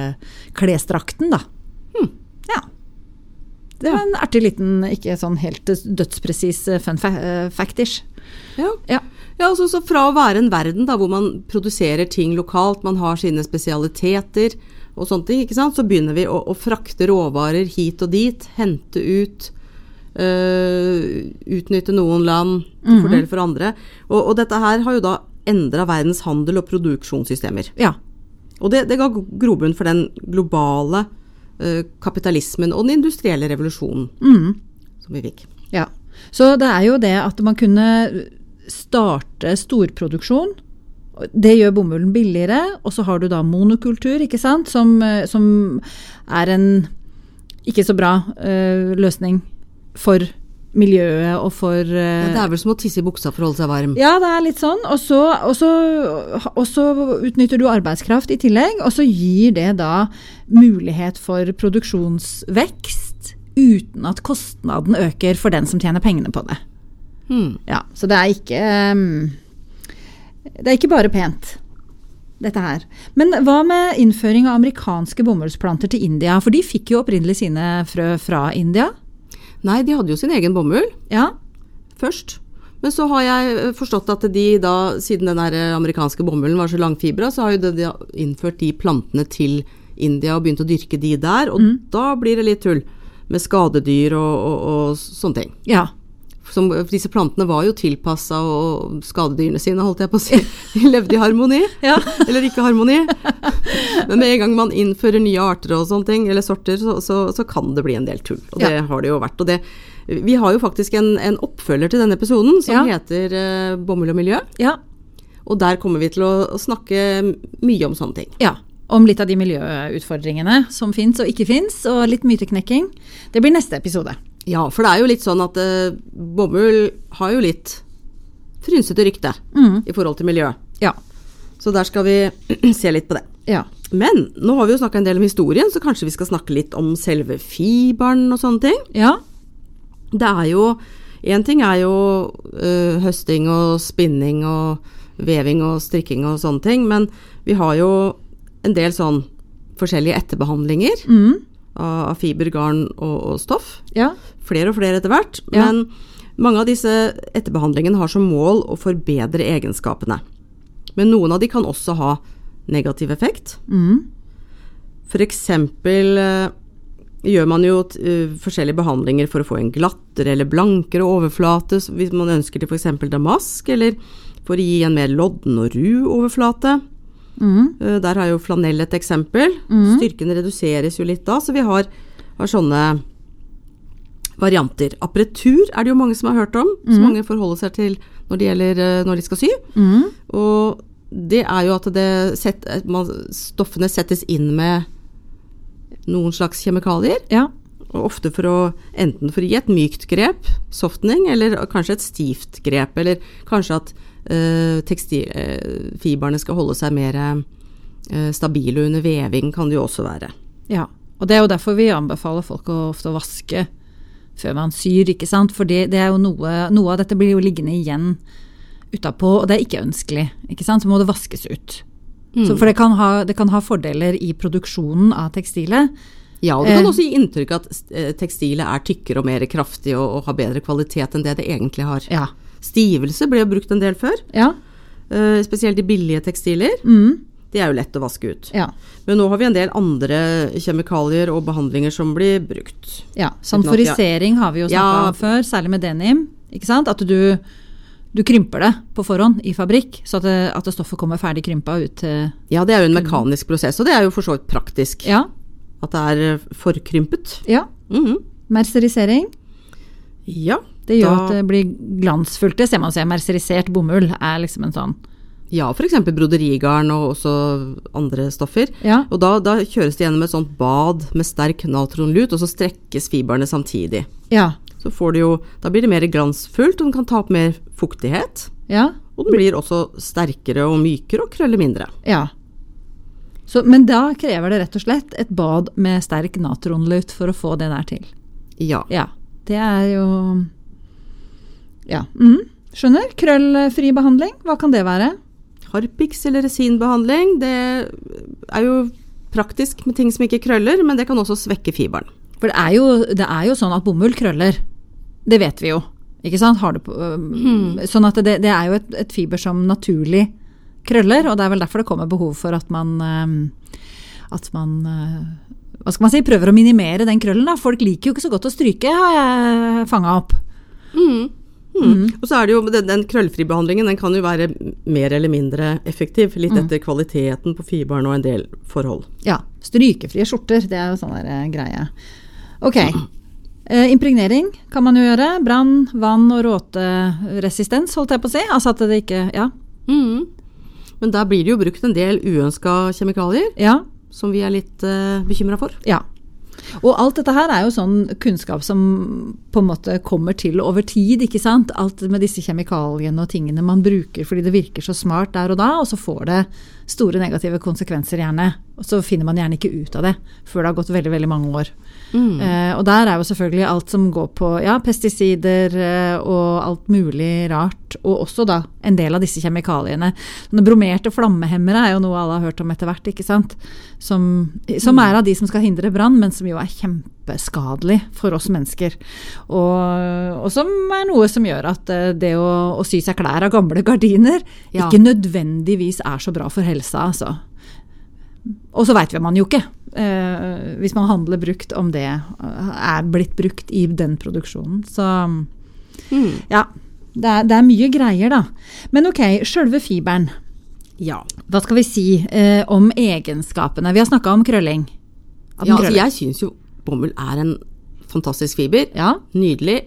B: bomullsklesdrakten, da.
A: Hm.
B: Ja. Det var en artig liten, ikke sånn helt dødspresis eh, fun fa eh, factish.
A: Ja.
B: Ja.
A: Ja, altså, så Fra å være en verden da, hvor man produserer ting lokalt, man har sine spesialiteter og sånne ting, ikke sant? så begynner vi å, å frakte råvarer hit og dit, hente ut, øh, utnytte noen land til fordel for andre. Og, og dette her har jo da endra verdens handel og produksjonssystemer.
B: ja.
A: Og det, det ga grobunn for den globale øh, kapitalismen og den industrielle revolusjonen som vi fikk.
B: Ja. Så det er jo det at man kunne starte storproduksjon. Det gjør bomullen billigere, og så har du da monokultur, ikke sant, som, eh, som er en ikke så bra eh, løsning for miljøet og for eh,
A: Det er vel som å tisse i buksa for å holde seg varm.
B: ja, det er litt sånn. Og så, og, så, og så utnytter du arbeidskraft i tillegg, og så gir det da mulighet for produksjonsvekst uten at kostnaden øker for den som tjener pengene på det.
A: Hmm.
B: Ja, så det er ikke um, Det er ikke bare pent, dette her. Men hva med innføring av amerikanske bomullsplanter til India? For de fikk jo opprinnelig sine frø fra India.
A: Nei, de hadde jo sin egen bomull.
B: Ja,
A: først. Men så har jeg eh, forstått at de da, siden den der eh, amerikanske bomullen var så langfibra, så har jo de- de har innført de plantene til India og begynt å dyrke de der, og da blir det litt tull med skadedyr og, og, og sånne ting.
B: ja.
A: Som, disse plantene var jo tilpassa skadedyrene sine, holdt jeg på å si. De levde i harmoni.
B: Ja.
A: Eller ikke harmoni. Men med en gang man innfører nye arter og sånne ting, eller sorter, så, så, så kan det bli en del tull. Og det har det jo vært. Og det, vi har jo faktisk en, en oppfølger til denne episoden som
B: Ja.
A: heter eh, Bomull og miljø.
B: ja.
A: Og der kommer vi til å, å snakke mye om sånne ting.
B: Ja, om litt av de miljøutfordringene som fins og ikke fins, og litt myteknekking. Det blir neste episode.
A: Ja, for det er jo litt sånn at eh, bomull har jo litt frynsete rykte i forhold til miljø.
B: Ja.
A: Så der skal vi se litt på det.
B: Ja.
A: Men nå har vi jo snakka en del om historien, så kanskje vi skal snakke litt om selve fiberen og sånne ting.
B: Ja.
A: Det er jo Én ting er jo øh, høsting og spinning og veving og strikking og sånne ting, men vi har jo en del sånn forskjellige etterbehandlinger av, av fiber, garn og, og stoff.
B: Mm. ja.
A: Flere og flere etter hvert.
B: Ja.
A: Men mange av disse etterbehandlingene har som mål å forbedre egenskapene. Men noen av de kan også ha negativ effekt.
B: Mm.
A: For eksempel eh, gjør man jo t- eh, forskjellige behandlinger for å få en glattere eller blankere overflate, så hvis man ønsker til f.eks. damask, eller for å gi en mer lodden og ru overflate.
B: Mm.
A: Eh, Der har jo flanell et eksempel. Styrken reduseres jo litt da, så vi har, har sånne varianter. Apretur er det jo mange som har hørt om, som mange forholder seg til når, det gjelder, eh, når de skal sy.
B: Mm.
A: Og det er jo at det sett, at man, stoffene settes inn med noen slags kjemikalier.
B: Ja.
A: Og ofte for å, enten for å gi et mykt grep, softning, eller kanskje et stivt grep. Eller kanskje at øh, tekstilfiberne skal holde seg mer øh, stabile under veving, kan det jo også være.
B: ja. Og det er jo derfor vi anbefaler folk å ofte vaske før man syr, ikke sant. For det er jo noe, noe av dette blir jo liggende igjen utapå, og det er ikke ønskelig. ikke sant? Så må det vaskes ut. Så, for det kan, ha, det kan ha fordeler i produksjonen av tekstilet.
A: Ja, og det kan også gi inntrykk at eh, tekstilet er tykkere og mer kraftig og, og har bedre kvalitet enn det det egentlig har.
B: Ja.
A: Stivelse ble jo brukt en del før.
B: Ja.
A: Eh, spesielt de billige tekstiler.
B: Mm.
A: De er jo lett å vaske ut.
B: Ja.
A: Men nå har vi en del andre kjemikalier og behandlinger som blir brukt.
B: ja. Samforisering har vi jo snakka
A: Ja.
B: om før, særlig med denim. Ikke sant? At du, du krymper det på forhånd i fabrikk, så at det, at det stoffet kommer ferdig krympa ut til
A: Ja, det er jo en mekanisk prosess, og det er jo for så vidt praktisk.
B: Ja.
A: At det er eh, forkrympet.
B: ja.
A: Mhm.
B: Mercerisering.
A: Ja.
B: Det gjør
A: da-
B: at det blir glansfullt. Det ser man ser. Mercerisert bomull er liksom en sånn
A: Ja, f.eks. broderigarn og også andre stoffer.
B: Ja.
A: Og da, da kjøres det gjennom et sånt bad med sterk natronlut, og så strekkes fibrene samtidig.
B: Ja.
A: Så får det jo, da blir det mer glansfullt, og den kan ta opp mer fuktighet.
B: Ja.
A: Og den blir også sterkere og mykere og krøller mindre.
B: ja. Så, men da krever det rett og slett et bad med sterk natronlut for å få det der til.
A: Ja.
B: Ja. Det er jo Ja. mhm, Skjønner. Krøllfri behandling, hva kan det være?
A: Harpix eller resinbehandling, det er jo praktisk med ting som ikke krøller, men det kan også svekke fiberen.
B: For det er jo, det er jo sånn at bomull krøller. Det vet vi jo. Ikke sant? Har det på, øhm, Sånn at det, det er jo et, et fiber som naturlig krøller, og det er vel derfor det kommer behov for at man øhm, At man øh, Hva skal man si? Prøver å minimere den krøllen, da. Folk liker jo ikke så godt å stryke, har jeg fanga opp.
A: Mm. Og så er det jo den, den krøllfri behandlingen, den kan jo være mer eller mindre effektiv, litt
B: Mm.
A: etter kvaliteten på fiberen og en del forhold.
B: Ja. Strykefrie skjorter, det er jo sånn der eh, greie. Ok. Eh, impregnering kan man jo gjøre. Brann, vann og råteresistens, holdt jeg på å si. Altså at det ikke Ja. Mm.
A: Men der blir det jo brukt en del uønska kjemikalier,
B: ja.
A: som vi er litt uh, bekymra for.
B: Ja. Og alt dette her er jo sånn kunnskap som på en måte kommer til over tid, ikke sant. Alt med disse kjemikaliene og tingene man bruker fordi det virker så smart der og da, og så får det store negative konsekvenser gjerne. Og så finner man gjerne ikke ut av det før det har gått veldig, veldig mange år. Eh, og der er jo selvfølgelig alt som går på ja, pesticider eh, og alt mulig rart, og også da en del av disse kjemikaliene. Sånne bromerte flammehemmere er jo noe alle har hørt om etter hvert, ikke sant. Som, som er av de som skal hindre brann, men som jo er kjempeskadelig for oss mennesker. Og, og som er noe som gjør at eh, det å, å sy seg klær av gamle gardiner
A: Ja.
B: ikke nødvendigvis er så bra for helsa, altså. Og så veit man jo ikke, eh, hvis man handler brukt, om det eh, er blitt brukt i den produksjonen. Så ja. Det er, det er mye greier, da. Men ok, sjølve fiberen.
A: Ja.
B: Hva skal vi si eh, om egenskapene? Vi har snakka om krølling. At den
A: ja altså,
B: krøller.
A: jeg syns jo bomull er en fantastisk fiber.
B: ja,
A: Nydelig.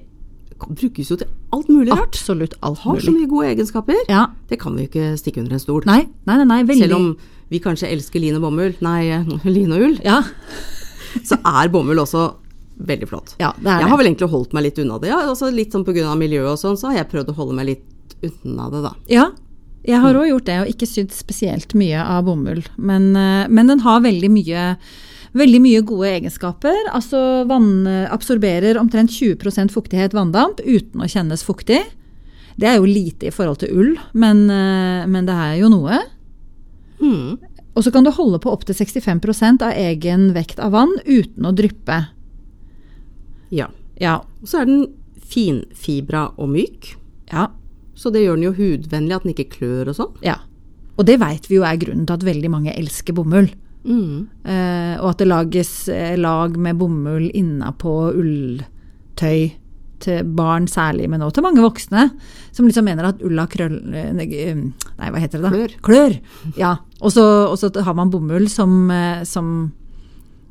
A: K- Brukes jo til alt mulig rart.
B: absolutt alt
A: Har så
B: mulig.
A: mye gode egenskaper.
B: Ja.
A: Det kan vi jo ikke stikke under en stol.
B: Nei, nei, nei, nei veldig.
A: Selv om vi kanskje elsker lin og bomull, nei, eh, lin og ull,
B: ja,
A: så er bomull også veldig flott.
B: ja, det er
A: Jeg har
B: det.
A: vel egentlig holdt meg litt unna det. Ja, altså litt sånn pga. miljøet og sånn, så har jeg prøvd å holde meg litt unna det, da.
B: Ja, jeg har òg gjort det, og ikke sydd spesielt mye av bomull. Men, eh, men den har veldig mye, veldig mye gode egenskaper. Altså vann eh, absorberer omtrent 20 fuktighet vanndamp uten å kjennes fuktig. Det er jo lite i forhold til ull, men, eh, men det er jo noe.
A: Mm.
B: Og så kan du holde på opptil 65 av egen vekt av vann uten å dryppe.
A: Ja.
B: Ja.
A: Og så er den finfibra og myk,
B: ja.
A: så det gjør den jo hudvennlig at den ikke klør og sånn.
B: Ja. Og det veit vi jo er grunnen til at veldig mange elsker bomull. Eh, og at det lages eh, lag med bomull innapå ulltøy til barn særlig, men også til mange voksne, som liksom mener at ulla krøll... eh, Nei, hva heter det da?
A: Klør.
B: Ja. Og så og så har man bomull som, eh, som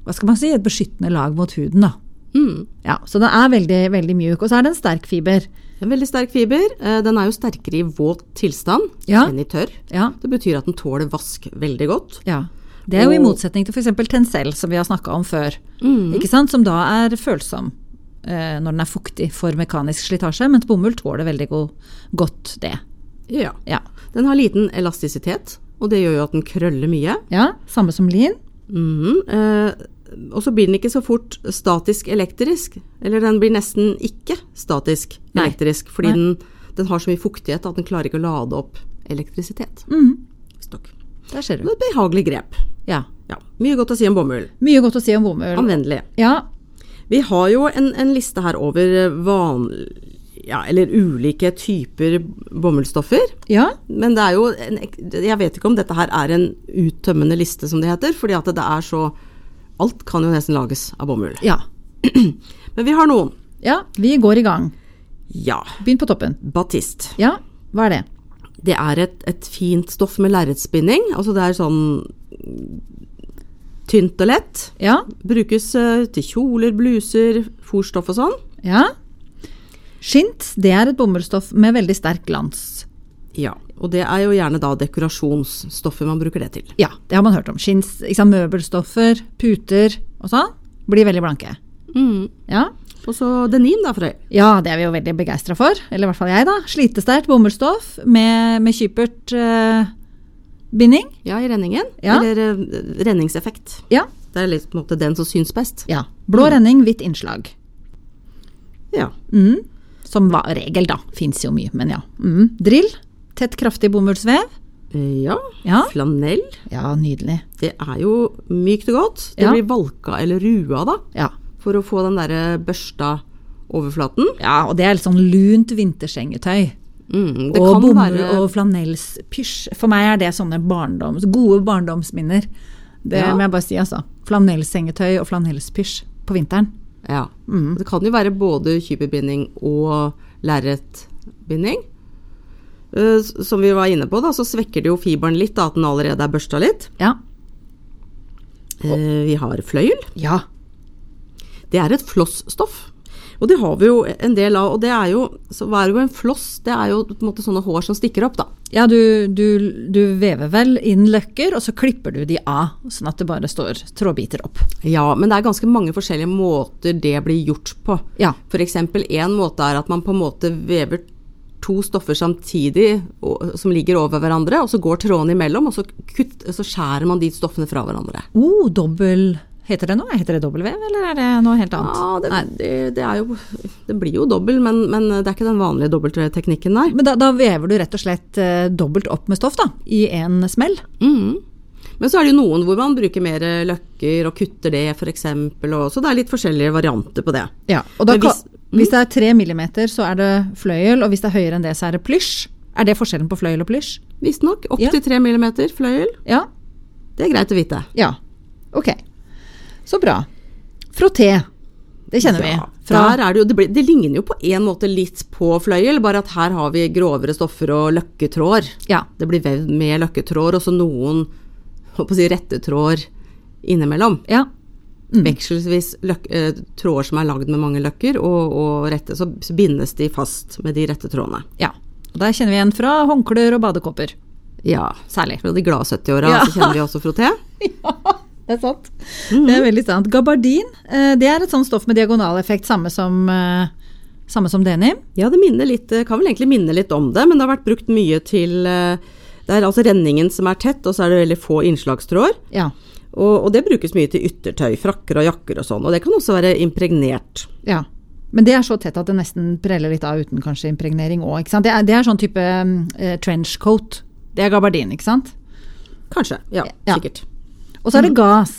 B: Hva skal man si? Et beskyttende lag mot huden, da.
A: Mm.
B: Ja, så den er veldig, veldig mjuk. Og så er det en sterk fiber.
A: En veldig sterk fiber. Eh, Den er jo sterkere i våt tilstand
B: Ja.
A: enn i tørr.
B: Ja.
A: Det betyr at den tåler vask veldig godt.
B: Ja. Det er jo i
A: Og-
B: motsetning til f.eks. Tencel, som vi har snakka om før. Ikke sant? Som da er følsom eh, når den er fuktig for mekanisk slitasje, mens bomull tåler veldig go godt det.
A: Ja.
B: Ja.
A: Den har liten elastisitet, og det gjør jo at den krøller mye.
B: ja samme som lin.
A: Mhm, eh, og så blir den ikke så fort statisk elektrisk. Eller den blir nesten ikke statisk
B: Nei.
A: elektrisk, fordi
B: Nei.
A: den, den har så mye fuktighet at den klarer ikke å lade opp elektrisitet.
B: Mhm.
A: Visstnok.
B: Der ser
A: Det
B: du.
A: er et behagelig grep.
B: Ja.
A: Ja, mye godt å si om bomull.
B: Mye godt å si om bomull.
A: Anvendelig.
B: Ja.
A: Vi har jo en, en liste her over vanlige eh, ja, eller ulike typer bomullsstoffer.
B: Ja.
A: Men det er jo en, ek- Jeg vet ikke om dette her er en uttømmende liste, som det heter. Fordi at det er så Alt kan jo nesten lages av bomull.
B: ja.
A: Men vi har noen.
B: Ja, vi går i gang.
A: Ja.
B: Begynn på toppen.
A: Batist.
B: Ja, hva er det?
A: Det er et, et fint stoff med lerretsbinding. Altså det er sånn mm, tynt og lett.
B: Ja.
A: Brukes eh, til kjoler, bluser, fòrstoff og sånn.
B: Ja. Skint, det er et bomullsstoff med veldig sterk glans.
A: Ja. Og det er jo gjerne da dekorasjonsstoffet man bruker det til.
B: Ja, det har man hørt om. Skinns, ikke sant, møbelstoffer, puter og sånn, blir veldig blanke.
A: Mm.
B: Ja.
A: Og så denim, da, Frøy.
B: Ja, det er vi jo veldig begeistra for. Eller i hvert fall jeg, da. Slitesterkt bomullsstoff med, med kypert eh, binding.
A: Ja, i renningen.
B: Ja.
A: Eller eh, renningseffekt.
B: Ja.
A: Det er litt på en måte den som syns best.
B: ja. Blå renning, hvitt innslag.
A: Ja.
B: Mm. Som va- regel, da. Fins jo mye, men ja. Mm. Drill. Tett, kraftig bomullsvev.
A: Eh, ja.
B: Ja.
A: Flanell.
B: Ja, nydelig.
A: Det er jo mykt og godt. Det
B: Ja.
A: blir valka eller rua, da.
B: Ja.
A: For å få den derre børsta overflaten.
B: ja, og det er litt sånn lunt vintersengetøy.
A: Mm, det
B: Og
A: kan
B: bomull
A: være
B: og flanellspysj. For meg er det sånne barndoms, gode barndomsminner. Det
A: Ja.
B: må jeg bare si, altså. Flanellsengetøy og flanellspysj på vinteren.
A: Ja. Det kan jo være både kyperbinding og lerretbinding. Eh, s- Som vi var inne på, da, så svekker det jo fiberen litt, da, at den allerede er børsta litt.
B: Ja.
A: Eh, Vi har fløyel.
B: Ja.
A: Det er et flossstoff. Og det har vi jo en del av. Og det er jo så Hva er jo en floss? Det er jo på en måte sånne hår som stikker opp, da.
B: Ja, du, du, du vever vel inn løkker, og så klipper du de av, sånn at det bare står trådbiter opp.
A: Ja, men det er ganske mange forskjellige måter det blir gjort på.
B: Ja.
A: F.eks. én måte er at man på en måte vever to stoffer samtidig og, som ligger over hverandre, og så går trådene imellom, og så, kutt, så skjærer man de stoffene fra hverandre.
B: Oh, dobbel Heter det noe? Heter det dobbeltvev, eller er det noe helt annet?
A: Ja, det, det, det er jo Det blir jo dobbel, men, men det er ikke den vanlige dobbeltteknikken, nei.
B: Men da, da vever du rett og slett eh, dobbelt opp med stoff, da, i en smell.
A: Mhm. Men så er det jo noen hvor man bruker mer eh, løkker og kutter det, f.eks., og så det er litt forskjellige varianter på det.
B: Ja, og da
A: Men
B: hvis,
A: hvis-
B: hvis det er tre millimeter, så er det fløyel, og hvis det er høyere enn det, så er det plysj. Er det forskjellen på fløyel og plysj?
A: Visstnok
B: Ja.
A: opptil tre millimeter fløyel.
B: Ja.
A: Det er greit å vite.
B: Ja. Ok. Så bra. Frotté. Det kjenner
A: Ja,
B: vi. Fra,
A: der er det, jo, det, blir, det ligner jo på en måte litt på fløyel, bare at her har vi grovere stoffer og løkketråder.
B: ja.
A: Det blir vevd med løkketråder og så noen holdt på å si, rettetråder innimellom.
B: ja. Mm.
A: Vekselvis løk, eh, tråder som er lagd med mange løkker, og, og rette, så så bindes de fast med de rette trådene.
B: Ja. Og der kjenner vi igjen fra håndklær og badekåper.
A: Ja,
B: Særlig.
A: fra de glade 70-åra
B: Ja.
A: så kjenner vi også frotté.
B: Ja, det er sant. Det er veldig sant. Gabardin eh, det er et sånt stoff med diagonaleffekt, samme som, eh, samme som denim.
A: Ja, det minner litt, eh, kan vel egentlig minne litt om det, men det har vært brukt mye til eh, Det er altså renningen som er tett, og så er det veldig få innslagstråder.
B: Ja.
A: Og, og det brukes mye til yttertøy, frakker og jakker og sånn. Og det kan også være impregnert.
B: ja. Men det er så tett at det nesten preller litt av uten kanskje impregnering òg. Det, er- det er sånn type eh, trenchcoat. Det er gabardin, ikke sant? Mm.
A: Kanskje. Ja,
B: Ja.
A: sikkert.
B: Og så er det gas.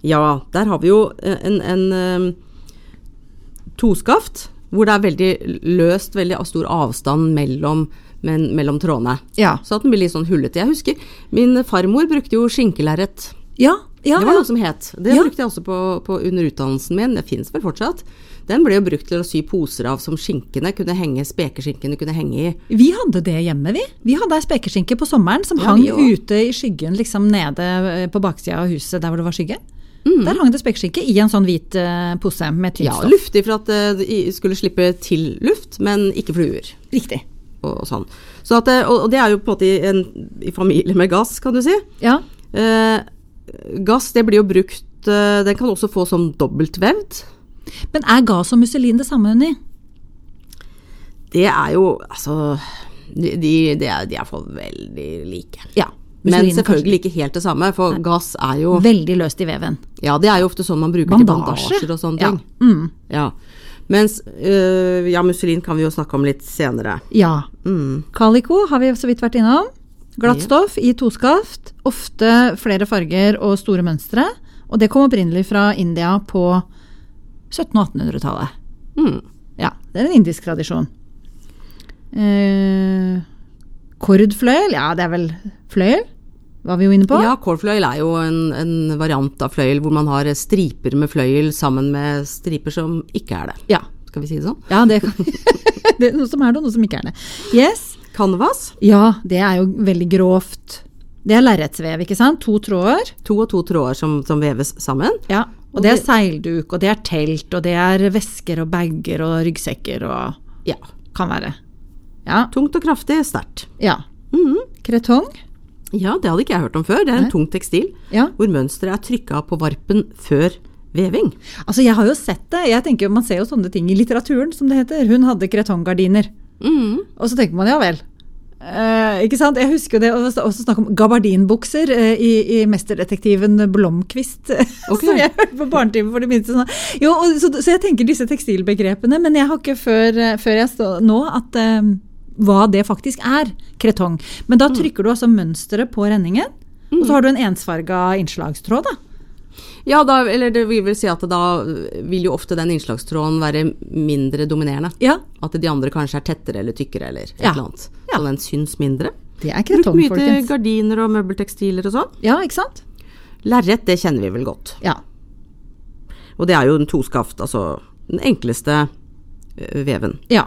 A: Ja, der har vi jo eh, en, en eh, toskaft hvor det er veldig løst, veldig stor avstand mellom, men, mellom trådene.
B: Ja.
A: Så at den blir litt sånn hullete. Jeg husker min farmor brukte jo skinkelerret.
B: Ja, ja,
A: det var
B: ja.
A: noe som het. Det
B: Ja.
A: brukte jeg også på, på under utdannelsen min, det fins vel fortsatt. Den ble jo brukt til å sy poser av som skinkene kunne henge, spekeskinkene kunne henge i.
B: Vi hadde det hjemme, vi. Vi hadde ei spekeskinke på sommeren som
A: Ja,
B: hang
A: vi også.
B: ute i skyggen, liksom nede eh, på baksida av huset der hvor det var skygge. Der hang det spekeskinke i en sånn hvit eh, pose med tynt
A: Ja,
B: stoff.
A: luftig for at eh, det i- skulle slippe til luft, men ikke fluer
B: Riktig.
A: og, og sånn. Så at, eh, og og det er jo på en måte i, en, i familie med gass, kan du si.
B: Ja.
A: Eh, gass det blir jo brukt eh, Den kan også få sånn dobbeltvevd.
B: Men er gass og musselin det samme, Unni?
A: Det er jo altså De, de, de er de er for veldig like.
B: Ja.
A: Men
B: musselin er
A: selvfølgelig ikke helt det samme, for gass er jo
B: kanskje Veldig løst i veven.
A: Ja, det er jo ofte sånn man bruker
B: Bandasje?
A: til bandasjer og sånne
B: Ja. Mm.
A: ting. Ja. Mens eh, Ja, musselin kan vi jo snakke om litt senere. Mm.
B: Ja. Calico har vi så vidt vært innom. Glatt stoff i toskaft. Ofte flere farger og store mønstre. Og det kom opprinnelig fra India på 1700- og 1800-tallet.
A: Mm.
B: Ja, det er en indisk tradisjon. Eh, kordfløyel, ja det er vel fløyel? Var vi jo inne på.
A: Ja, kålfløyel er jo en, en variant av fløyel hvor man har striper med fløyel sammen med striper som ikke er det.
B: Ja,
A: Skal vi si det sånn?
B: ja det, kan, det er noe som er det, og noe som ikke er det. Yes.
A: Canvas.
B: Ja, det er jo veldig grovt. Det er lerretsvev, ikke sant? To tråder.
A: To og to tråder som, som veves sammen.
B: Ja, og det er seilduk, og det er telt, og det er vesker og bager og ryggsekker og
A: Ja.
B: kan være. Ja.
A: Tungt og kraftig, sterkt.
B: ja.
A: Mhm.
B: Kretong.
A: Ja, det hadde ikke jeg hørt om før. Det er en tung tekstil
B: Ja.
A: hvor mønsteret er trykka på varpen før veving.
B: Altså, jeg har jo sett det. Jeg tenker jo, Man ser jo sånne ting i litteraturen, som det heter. Hun hadde kretonggardiner.
A: Mhm.
B: Og så tenker man ja vel. Eh, ikke sant? Jeg husker jo det, og det var også snakk om gabardinbukser eh, i, i mesterdetektiven Blomkvist.
A: Ok.
B: som jeg hørte på barnetimen for det minste. Sånn. Jo, og, så, så jeg tenker disse tekstilbegrepene, men jeg har ikke før, eh, før jeg står nå at eh, hva det faktisk er. Kretong. Men
A: Mm.
B: da trykker du altså mønsteret på renningen, og så har du en ensfarga innslagstråd. da.
A: Ja, da, eller det vil vel si at da vil jo ofte den innslagstråden være mindre dominerende.
B: Ja,
A: At de andre kanskje er tettere eller tykkere eller et
B: Ja.
A: eller annet.
B: Ja.
A: Så den syns mindre.
B: det er
A: Brukt
B: kretong,
A: mye til
B: folkens.
A: gardiner og møbeltekstiler og sånn.
B: Ja, ikke sant?
A: Lerret, det kjenner vi vel godt.
B: Ja.
A: Og det er jo en toskaft, altså den enkleste ø, veven.
B: Ja.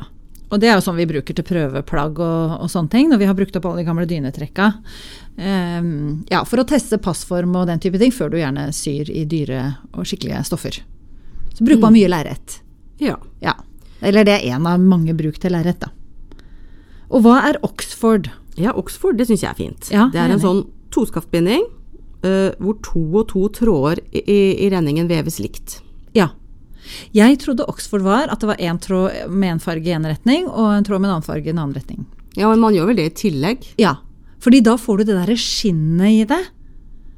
B: Og det er jo sånn vi bruker til prøveplagg og, og sånne ting, når vi har brukt opp alle de gamle dynetrekka. Ehm, ja, for å teste passform og den type ting, før du gjerne syr i dyre og skikkelige stoffer. Så bruker
A: Mm.
B: man mye lerret.
A: Ja.
B: Ja. Eller det er én av mange bruk til lerret, da. Og hva er Oxford?
A: ja, Oxford, det syns jeg er fint.
B: Ja,
A: det er
B: jeg er
A: en sånn toskaftbinding ø, hvor to og to tråder i, i, i renningen veves likt.
B: Ja. Jeg trodde Oxford var at det var én tråd med en farge i én retning, og en tråd med en annen farge i en annen retning.
A: Ja, men man gjør vel det i tillegg.
B: Ja, fordi da får du det derre skinnet i det,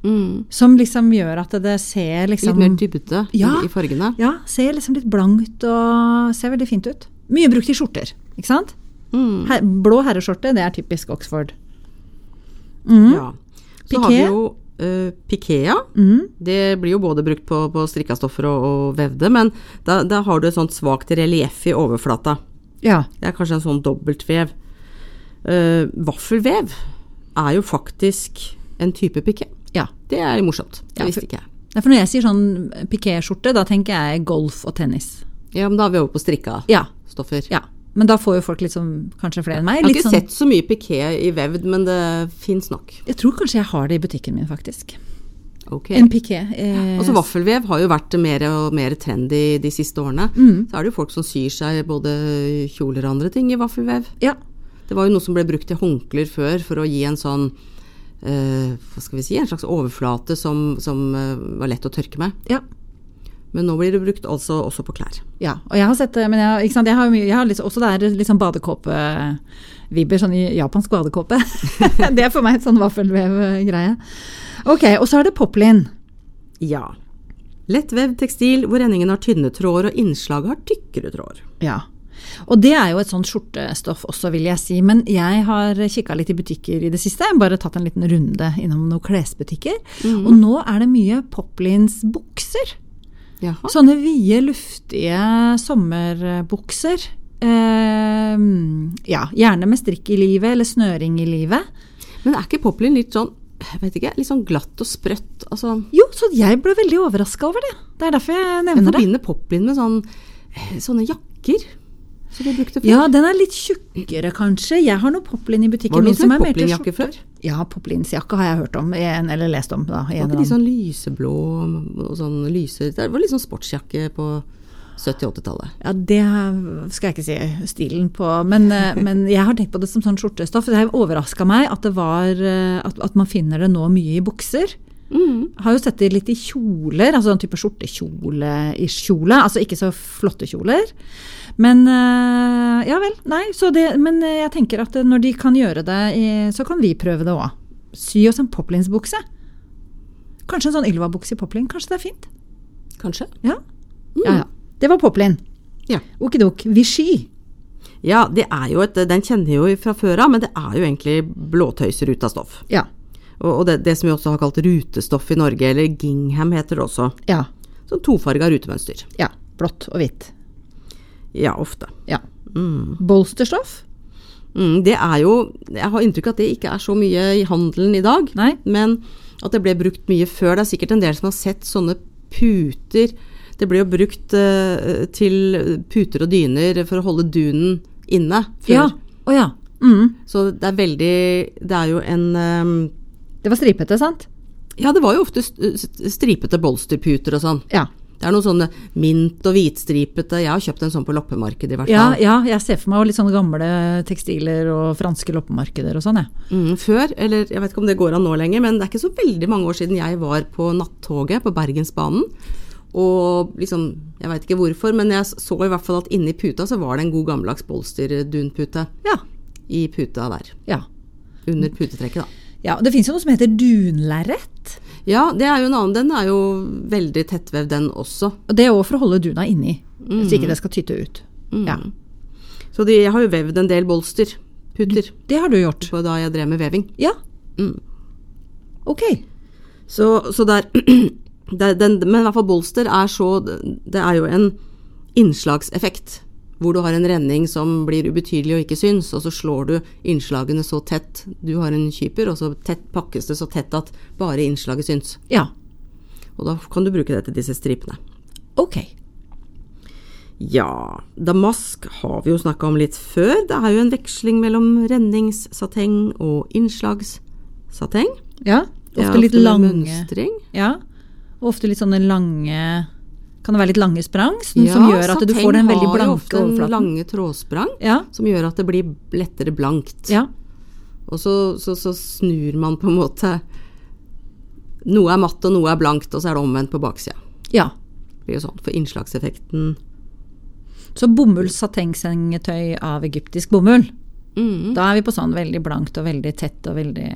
A: Mm.
B: som liksom gjør at det ser
A: Litt
B: liksom
A: mer dybde i-
B: Ja.
A: i fargene.
B: Ja, ser liksom litt blankt og ser veldig fint ut. Mye brukt i skjorter, ikke sant?
A: Mm.
B: Her, blå herreskjorte, det er typisk Oxford.
A: Ja. Så har vi
B: Piqué.
A: jo uh, Pikea. Det blir jo både brukt på, på strikka stoffer og, og vevde, men da, da har du et sånt svakt relieff i overflata.
B: Ja.
A: Det er kanskje en sånn dobbeltvev. Eh, vaffelvev er jo faktisk en type piké.
B: ja.
A: Det er jo morsomt. Det
B: Ja,
A: visste
B: for-
A: ikke jeg.
B: Nei, For når jeg sier sånn pikéskjorte, da tenker jeg golf og tennis.
A: Ja, men da er vi over på strikka
B: Ja.
A: stoffer.
B: ja. Men da får jo folk litt sånn, kanskje flere enn meg.
A: Jeg har
B: Litt
A: ikke
B: sånn,
A: sett så mye piké i vevd, men det fins nok.
B: jeg tror kanskje jeg har det i butikken min, faktisk.
A: Ok.
B: En piké. Eh,
A: Altså Vaffelvev har jo vært mer og mer trendy de siste årene.
B: Mm.
A: Så er det jo folk som syr seg både kjoler og andre ting i vaffelvev.
B: ja.
A: Det var jo noe som ble brukt til håndklær før for å gi en sånn eh, hva skal vi si, en slags overflate som, som eh, var lett å tørke med.
B: ja.
A: Men nå blir det brukt altså også på klær.
B: Ja, og jeg har sett det, men jeg, ikke sant, jeg har, jo mye- jeg har litt- også det er litt sånn badekåpevibber, sånn i- japansk badekåpe. det er for meg et sånn vaffelvev-greie. Ok, og så er det poplin.
A: Ja. Lettvevd tekstil hvor renningen har tynne tråder og innslaget har tykkere tråder.
B: Ja. Og det er jo et sånt skjortestoff også, vil jeg si. Men jeg har kikka litt i butikker i det siste, bare tatt en liten runde innom noen klesbutikker. Og nå er det mye poplins bukser.
A: Jaha.
B: Sånne vide, luftige sommerbukser. Eh, ja, gjerne med strikk i livet eller snøring i livet.
A: Men er ikke poplin litt sånn jeg vet ikke, litt sånn glatt og sprøtt? Altså,
B: Jo, så jeg ble veldig overraska over det. Det er derfor jeg
A: jeg
B: nevner det.
A: forbinder poplin med sånn, eh, sånne jakker som vi brukte før.
B: Ja, den er litt tjukkere, kanskje. Jeg har noe poplin i
A: Var
B: butikken
A: det
B: min
A: noen sånn
B: som
A: som
B: er mer til
A: poplinjakke
B: skjorter.
A: før?
B: Ja, poplinsjakke har jeg hørt om, i en- eller lest om. Da, i en
A: Var
B: eller
A: ikke de
B: annen.
A: sånn lyseblå og sånn lyse Det var litt sånn sportsjakke på 70-80-tallet.
B: Ja, det skal jeg ikke si stilen på, men, eh, men jeg har tenkt på det som sånn skjortestoff. Det har overraska meg at, det var, eh, at, at man finner det nå mye i bukser. Har jo sett det litt i kjoler, altså en type skjortekjole-ish-kjole. Altså ikke så flotte kjoler. Men eh, ja vel, nei. Så det, men eh, jeg tenker at eh, når de kan gjøre det, i- så kan vi prøve det òg. Sy oss en poplinsbukse. Kanskje en sånn Ylva-bukse i poplin. Kanskje det er fint.
A: Kanskje?
B: Ja. ja, ja. Det var poplin.
A: Ja.
B: Okidok. Vichy.
A: Ja, det er jo et, den kjenner jeg jo fra før av, men det er jo egentlig blåtøyser ut av stoff.
B: Ja.
A: Og, og det, det som vi også har kalt rutestoff i Norge, eller gingham heter det også.
B: Ja.
A: Sånn tofarga rutemønster.
B: ja. Blått og hvitt.
A: Ja, ofte.
B: Ja. Bolsterstoff.
A: Mm, det er jo Jeg har inntrykk av at det ikke er så mye i handelen i dag.
B: Nei.
A: Men at det ble brukt mye før. Det er sikkert en del som har sett sånne puter. Det ble jo brukt eh, til puter og dyner for å holde dunen inne før.
B: Ja. Å ja. Mm.
A: Så det er veldig Det er jo en eh,
B: Det var stripete, sant?
A: Ja, det var jo ofte st- stripete bolsterputer og sånn.
B: Ja.
A: Det er noen sånne mint- og hvitstripete Jeg har kjøpt en sånn på loppemarkedet, i hvert
B: Ja,
A: fall.
B: ja, jeg ser for meg litt sånne gamle tekstiler og franske loppemarkeder og sånn, jeg.
A: Mm, før, eller jeg vet ikke om det går an nå lenger, men det er ikke så veldig mange år siden jeg var på nattoget på Bergensbanen. Og liksom, jeg veit ikke hvorfor, men jeg så i hvert fall at inni puta så var det en god gammeldags bolsterdunpute
B: Ja.
A: i puta der.
B: ja.
A: Under putetrekket, da.
B: ja det fins jo noe som heter dunlerret.
A: Ja, det er jo en annen. Den er jo veldig tettvevd, den også.
B: Og det er også for å holde duna inni, så
A: Mm.
B: ikke det skal tyte ut. Ja.
A: Så de, jeg har jo vevd en del bolsterputer
B: Det har du gjort.
A: på da jeg drev med veving.
B: Ja.
A: Mm.
B: Ok.
A: Så, så der, der den, Men i hvert fall bolster er så Det er jo en innslagseffekt. Hvor du har en renning som blir ubetydelig og ikke syns, og så slår du innslagene så tett. Du har en kyper, og så tett, pakkes det så tett at bare innslaget syns.
B: Ja.
A: Og da kan du bruke det til disse stripene.
B: Ok.
A: Ja, damask har vi jo snakka om litt før. Det er jo en veksling mellom renningssateng og innslagssateng.
B: Ja.
A: Det er
B: Ofte litt
A: med
B: lange
A: Mønstring.
B: Ja. Og ofte litt sånne lange Kan det være litt lange sprang som, som gjør at du
A: sateng
B: får den veldig
A: har jo
B: blanke
A: ofte en
B: overflaten?
A: lange trådsprang
B: Ja.
A: som gjør at det blir lettere blankt.
B: Ja.
A: Og så, så, så snur man på en måte Noe er matt og noe er blankt, og så er det omvendt på baksida.
B: ja.
A: Det blir jo sånn for innslagseffekten.
B: Så bomullssatengsengetøy av egyptisk bomull. Da er vi på sånn veldig blankt og veldig tett og veldig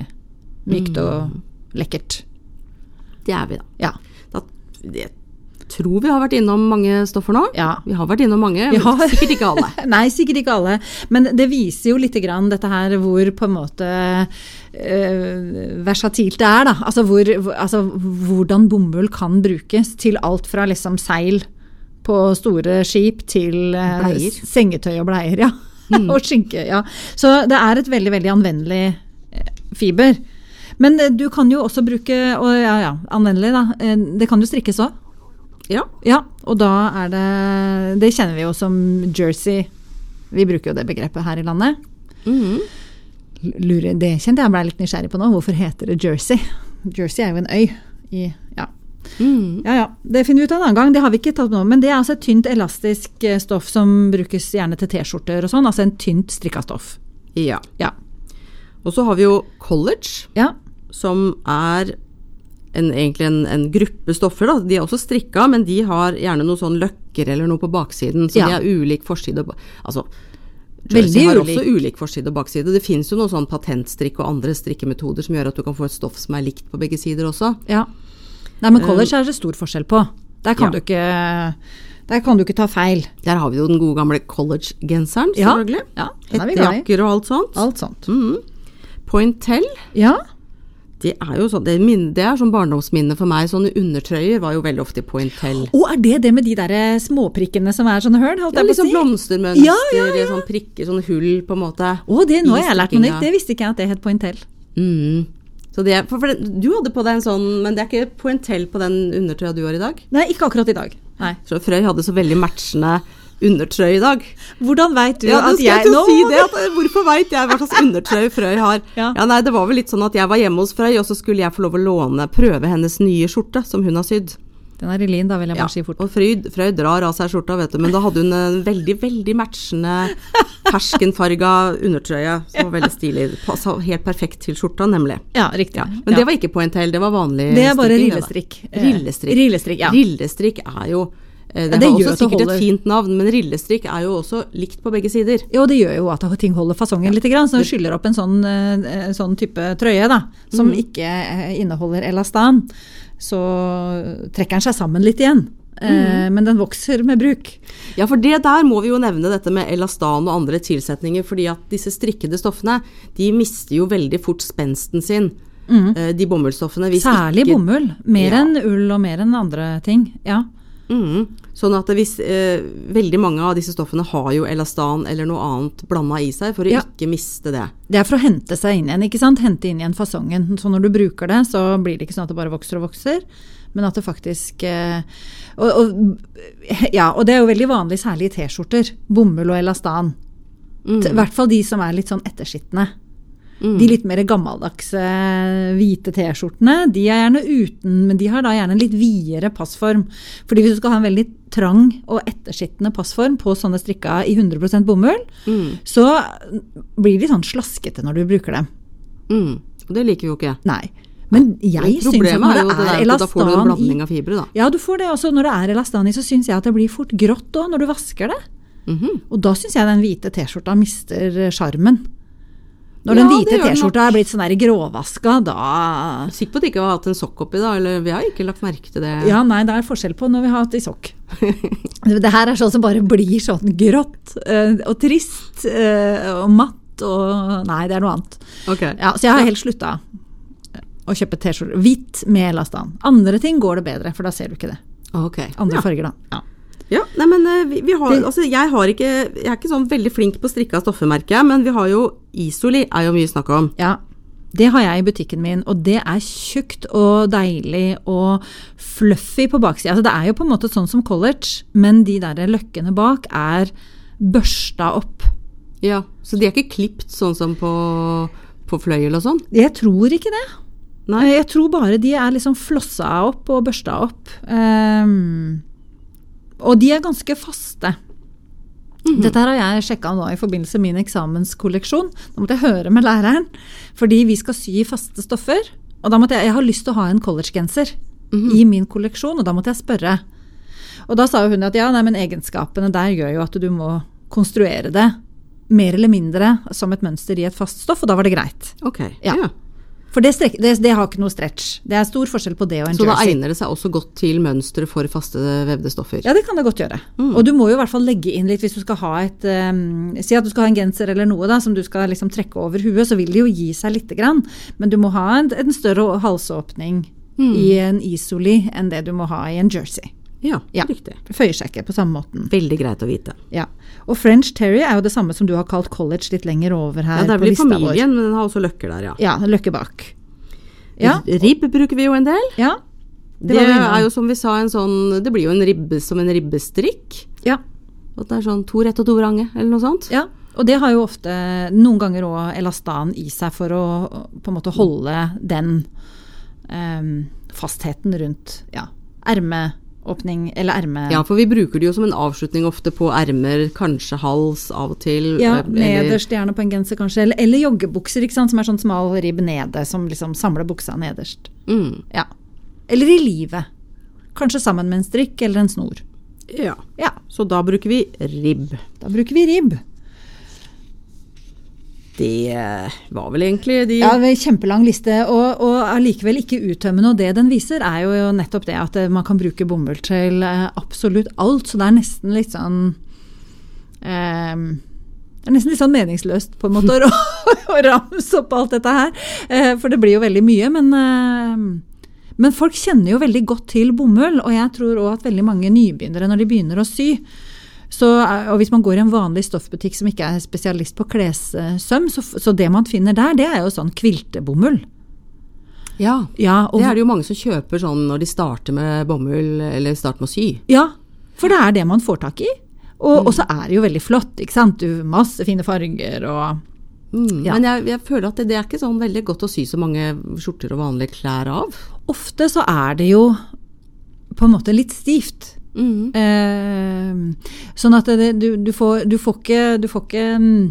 B: mykt og lekkert.
A: Det er vi, da.
B: Ja.
A: da. Jeg tror vi har vært innom mange stoffer nå.
B: Ja.
A: Vi har vært innom mange,
B: Vi
A: men
B: har.
A: sikkert ikke alle.
B: Nei, sikkert ikke alle. Men det viser jo lite grann dette her hvor på en måte eh, versatilt det er, da. Altså, hvor, hvor- altså hvordan bomull kan brukes til alt fra liksom seil på store skip til eh,
A: Bleier. Hmm.
B: s- sengetøy og bleier. Ja. og skinke. Ja. Så det er et veldig, veldig anvendelig eh, fiber. Men eh, du kan jo også bruke og ja, ja, anvendelig, da. Eh, Det kan jo strikkes òg.
A: Ja.
B: Ja, og da er det Det kjenner vi jo som jersey. Vi bruker jo det begrepet her i landet.
A: Mhm.
B: L- Lurer, det kjente jeg ble litt nysgjerrig på nå. Hvorfor heter det jersey? Jersey er jo en øy i ja.
A: Mhm.
B: ja ja, det finner vi ut en annen gang. Det har vi ikke tatt nå. Men det er altså et tynt elastisk eh, stoff som brukes gjerne til T-skjorter og sånn. Altså en tynt strikka stoff.
A: ja.
B: Ja.
A: Og så har vi jo college.
B: ja.
A: som er en, egentlig en, en gruppe stoffer. Da. De er også strikka, men de har gjerne noen sånn løkker eller noe på baksiden, så
B: Ja.
A: de er ulik forside og ba- Altså,
B: Veldig
A: jersey har
B: ulik.
A: også ulik forside og bakside. Det fins jo noen sånn patentstrikk og andre strikkemetoder som gjør at du kan få et stoff som er likt på begge sider også.
B: ja. Nei, men college er det stor forskjell på. Der
A: ja.
B: kan, du, ikke, der kan du ikke ta feil.
A: Der har vi jo den gode gamle college-genseren, selvfølgelig.
B: Ja, den er vi glad i.
A: Hettejakker og alt sånt.
B: Alt sånt.
A: Mhm. Pointell,
B: Ja.
A: det er jo sånn, det, er min- det er sånn barndomsminne for meg. Sånne undertrøyer var jo veldig ofte pointell.
B: Å, er det det med de der eh, småprikkene som er sånne høl? Holdt
A: Ja,
B: jeg
A: liksom
B: på å si?
A: blomstermønster,
B: Ja, ja, ja.
A: sånn prikker, sånn hull, på en måte.
B: Å, det, nå har jeg
A: i
B: lært noe nytt.
A: strikkinga.
B: Det visste ikke jeg at det het pointell.
A: Mm. Så det, er- for, for det, du hadde på deg en sånn, men det er ikke poentell på den undertrøya du har i dag.
B: Nei, ikke akkurat i dag. Nei.
A: Så Frøy hadde så veldig matchende undertrøy i dag.
B: Hvordan veit du
A: nå
B: at
A: skulle jeg
B: jeg
A: til å
B: nå
A: si det, at, eh, Hvorfor veit jeg hva slags undertrøy Frøy har?
B: Ja.
A: nei, Det var vel litt sånn at jeg var hjemme hos Frøy, og så skulle jeg få lov å låne, prøve hennes nye skjorte som hun har sydd.
B: Den er i lin, da vil jeg bare si fort.
A: Og Frøyd, Frøy drar av seg skjorta, vet du, men da hadde hun en veldig, veldig matchende ferskenfarga undertrøye som var veldig stilig. Passa helt perfekt til skjorta, nemlig.
B: Ja, riktig.
A: Ja. Men det var ikke pointell, det var vanlig
B: Det er bare
A: strikking, det da.
B: rillestrikk. Eh,
A: Rillestrikk.
B: rillestrikk, ja.
A: Rillestrikk er jo eh,
B: Ja,
A: Det,
B: det
A: har også
B: gjør at det
A: sikkert
B: holder.
A: et fint navn, men rillestrikk er jo også likt på begge sider.
B: Jo, det gjør jo at ting holder fasongen litt, grann, så den skyller opp en sånn, eh, eh, sånn type trøye da, som ikke eh, inneholder elastan. Så trekker den seg sammen litt igjen, Eh, men den vokser med bruk.
A: Ja, for det der må vi jo nevne dette med elastan og andre tilsetninger, fordi at disse strikkede stoffene, de mister jo veldig fort spensten sin. Mhm. eh, De bomullsstoffene. hvis
B: Særlig
A: ikke-
B: bomull. Mer
A: Ja.
B: enn ull og mer enn andre ting. Ja.
A: Mm. Sånn at hvis, eh, veldig mange av disse stoffene har jo elastan eller noe annet blanda i seg for å
B: Ja.
A: ikke miste det.
B: Det er for å hente seg inn igjen, ikke sant? Hente inn igjen fasongen. Så når du bruker det, så blir det ikke sånn at det bare vokser og vokser, men at det faktisk eh, og, og, Ja, og det er jo veldig vanlig, særlig i T-skjorter. Bomull og elastan.
A: Mm.
B: I hvert fall de som er litt sånn etterskitne. De litt mer gammeldagse hvite T-skjortene, de er gjerne uten, men de har da gjerne en litt videre passform. Fordi hvis du skal ha en veldig trang og ettersittende passform på sånne strikka i 100 bomull,
A: Mm.
B: så blir de sånn slaskete når du bruker dem.
A: Mm. Og det liker vi jo ikke.
B: Nei. Men jeg syns at
A: Problemet
B: når
A: er
B: det
A: jo det
B: er
A: der at da får du en
B: elastan i
A: blanding av fibre, da.
B: Ja, du får det også. Når det er elastan i, så syns jeg at det blir fort grått òg når du vasker det.
A: Mhm.
B: Og da syns jeg den hvite T-skjorta mister eh, sjarmen.
A: Ja,
B: Når den
A: det
B: hvite
A: gjør den nok.
B: T-skjorta er blitt sånn der gråvaska, da
A: Sikker på at de ikke har hatt en sokk oppi, da? Eller vi har ikke lagt merke til det.
B: Ja, nei, det er forskjell på når vi har hatt i sokk. det her er sånn som bare blir sånn grått eh, og trist eh, og matt og Nei, det er noe annet.
A: Ok.
B: Ja, så jeg har helt slutta å kjøpe T-skjorte hvitt med elastan. Andre ting går det bedre, for da ser du ikke det.
A: Ok.
B: Andre
A: Ja.
B: farger, da. Ja.
A: Ja, nei, men eh, vi, vi har,
B: Det-
A: altså, jeg, har ikke, jeg er ikke sånn veldig flink på strikka stoffer, merker jeg, men vi har jo Isoli, er jo mye snakk om.
B: Ja, det har jeg i butikken min, og det er tjukt og deilig og fluffy på baksida. Altså, det er jo på en måte sånn som college, men de der løkkene bak er børsta opp.
A: Ja, Så de er ikke klipt sånn som på, på fløyel og sånn?
B: Jeg tror ikke det. Eh,
A: Nei.
B: Jeg tror bare de er liksom flossa opp og børsta opp. Ehm, og de er ganske faste. Dette her har jeg sjekka nå i forbindelse med min eksamenskolleksjon. Nå måtte jeg høre med læreren, fordi vi skal sy i faste stoffer. Og da måtte jeg, jeg har lyst til å ha en collegegenser i min kolleksjon, og da måtte jeg spørre. Og da sa jo hun at ja, nei, men egenskapene der gjør jo at du må konstruere det mer eller mindre som et mønster i et fast stoff, og da var det greit.
A: Ok.
B: Ja.
A: Ja.
B: For det, strek, det, det har ikke noe stretch. Det er stor forskjell på det og en
A: Så da
B: jersey.
A: egner det seg også godt til mønstre for faste vevde stoffer?
B: Ja, det kan det godt gjøre.
A: Mm.
B: Og du må jo i hvert fall legge inn litt hvis du skal ha et ehm, Si at du skal ha en genser eller noe da, som du skal liksom trekke over huet, så vil det jo gi seg lite grann. Men du må ha en, en større halsåpning
A: Mm.
B: i en isoli enn det du må ha i en jersey.
A: Ja,
B: Ja.
A: riktig.
B: Det Føyer seg ikke på samme måten.
A: Veldig greit å vite.
B: Ja. Og French Terry er jo det samme som du har kalt college litt lenger over
A: Ja,
B: her
A: Der
B: på
A: blir
B: lista vår.
A: familien, men den har også løkker der, ja.
B: Ja, løkke bak. Ja.
A: Ribb bruker vi jo en del.
B: ja.
A: Det,
B: var vi innom.
A: er jo som vi sa, en sånn Det blir jo en ribbe som en ribbestrikk.
B: ja.
A: At det er sånn to rett og to vrange, eller noe sånt.
B: Ja, og det har jo ofte noen ganger òg elastan i seg for å på en måte holde den em, fastheten rundt ja, ermeåpning eller erme...
A: Ja, for vi bruker det jo som en avslutning ofte på ermer, kanskje hals av og til.
B: Ja,
A: eh, eller-
B: nederst gjerne på en genser, kanskje. Eller, eller joggebukser, ikke sant, som er sånn smal ribb nede, som liksom samler buksa nederst.
A: Mm,
B: Ja. Eller i livet. Kanskje sammen med en strikk eller en snor.
A: ja.
B: Ja,
A: Så da bruker vi ribb.
B: da bruker vi ribb.
A: Det eh, var vel egentlig de
B: Ja, det er en kjempelang liste, og, og allikevel ikke uttømmende. Og det den viser, er jo nettopp det at eh, man kan bruke bomull til eh, absolutt alt. Så det er nesten litt sånn eh, det er nesten litt sånn meningsløst på en måte å ra- å ramse opp alt dette her. Eh, For det blir jo veldig mye. Men, eh, men folk kjenner jo veldig godt til bomull. Og jeg tror òg at veldig mange nybegynnere, når de begynner å sy, så, er- og hvis man går i en vanlig stoffbutikk som ikke er spesialist på klessøm, så, f- så det man finner der, det er jo sånn kviltebomull.
A: Ja.
B: Ja, og,
A: Det er det jo mange som kjøper sånn når de starter med bomull, eller starter med å sy.
B: ja for det er det man får tak i. Og, og så er det jo veldig flott, ikke sant. Du, masse fine farger og
A: Mm,
B: Ja.
A: Men jeg, jeg føler at det, det er ikke sånn veldig godt å sy så mange skjorter og vanlige klær av.
B: Ofte så er det jo på en måte litt stivt.
A: Mm.
B: Eh, sånn at det, du, du, får, du får ikke Du får ikke mm,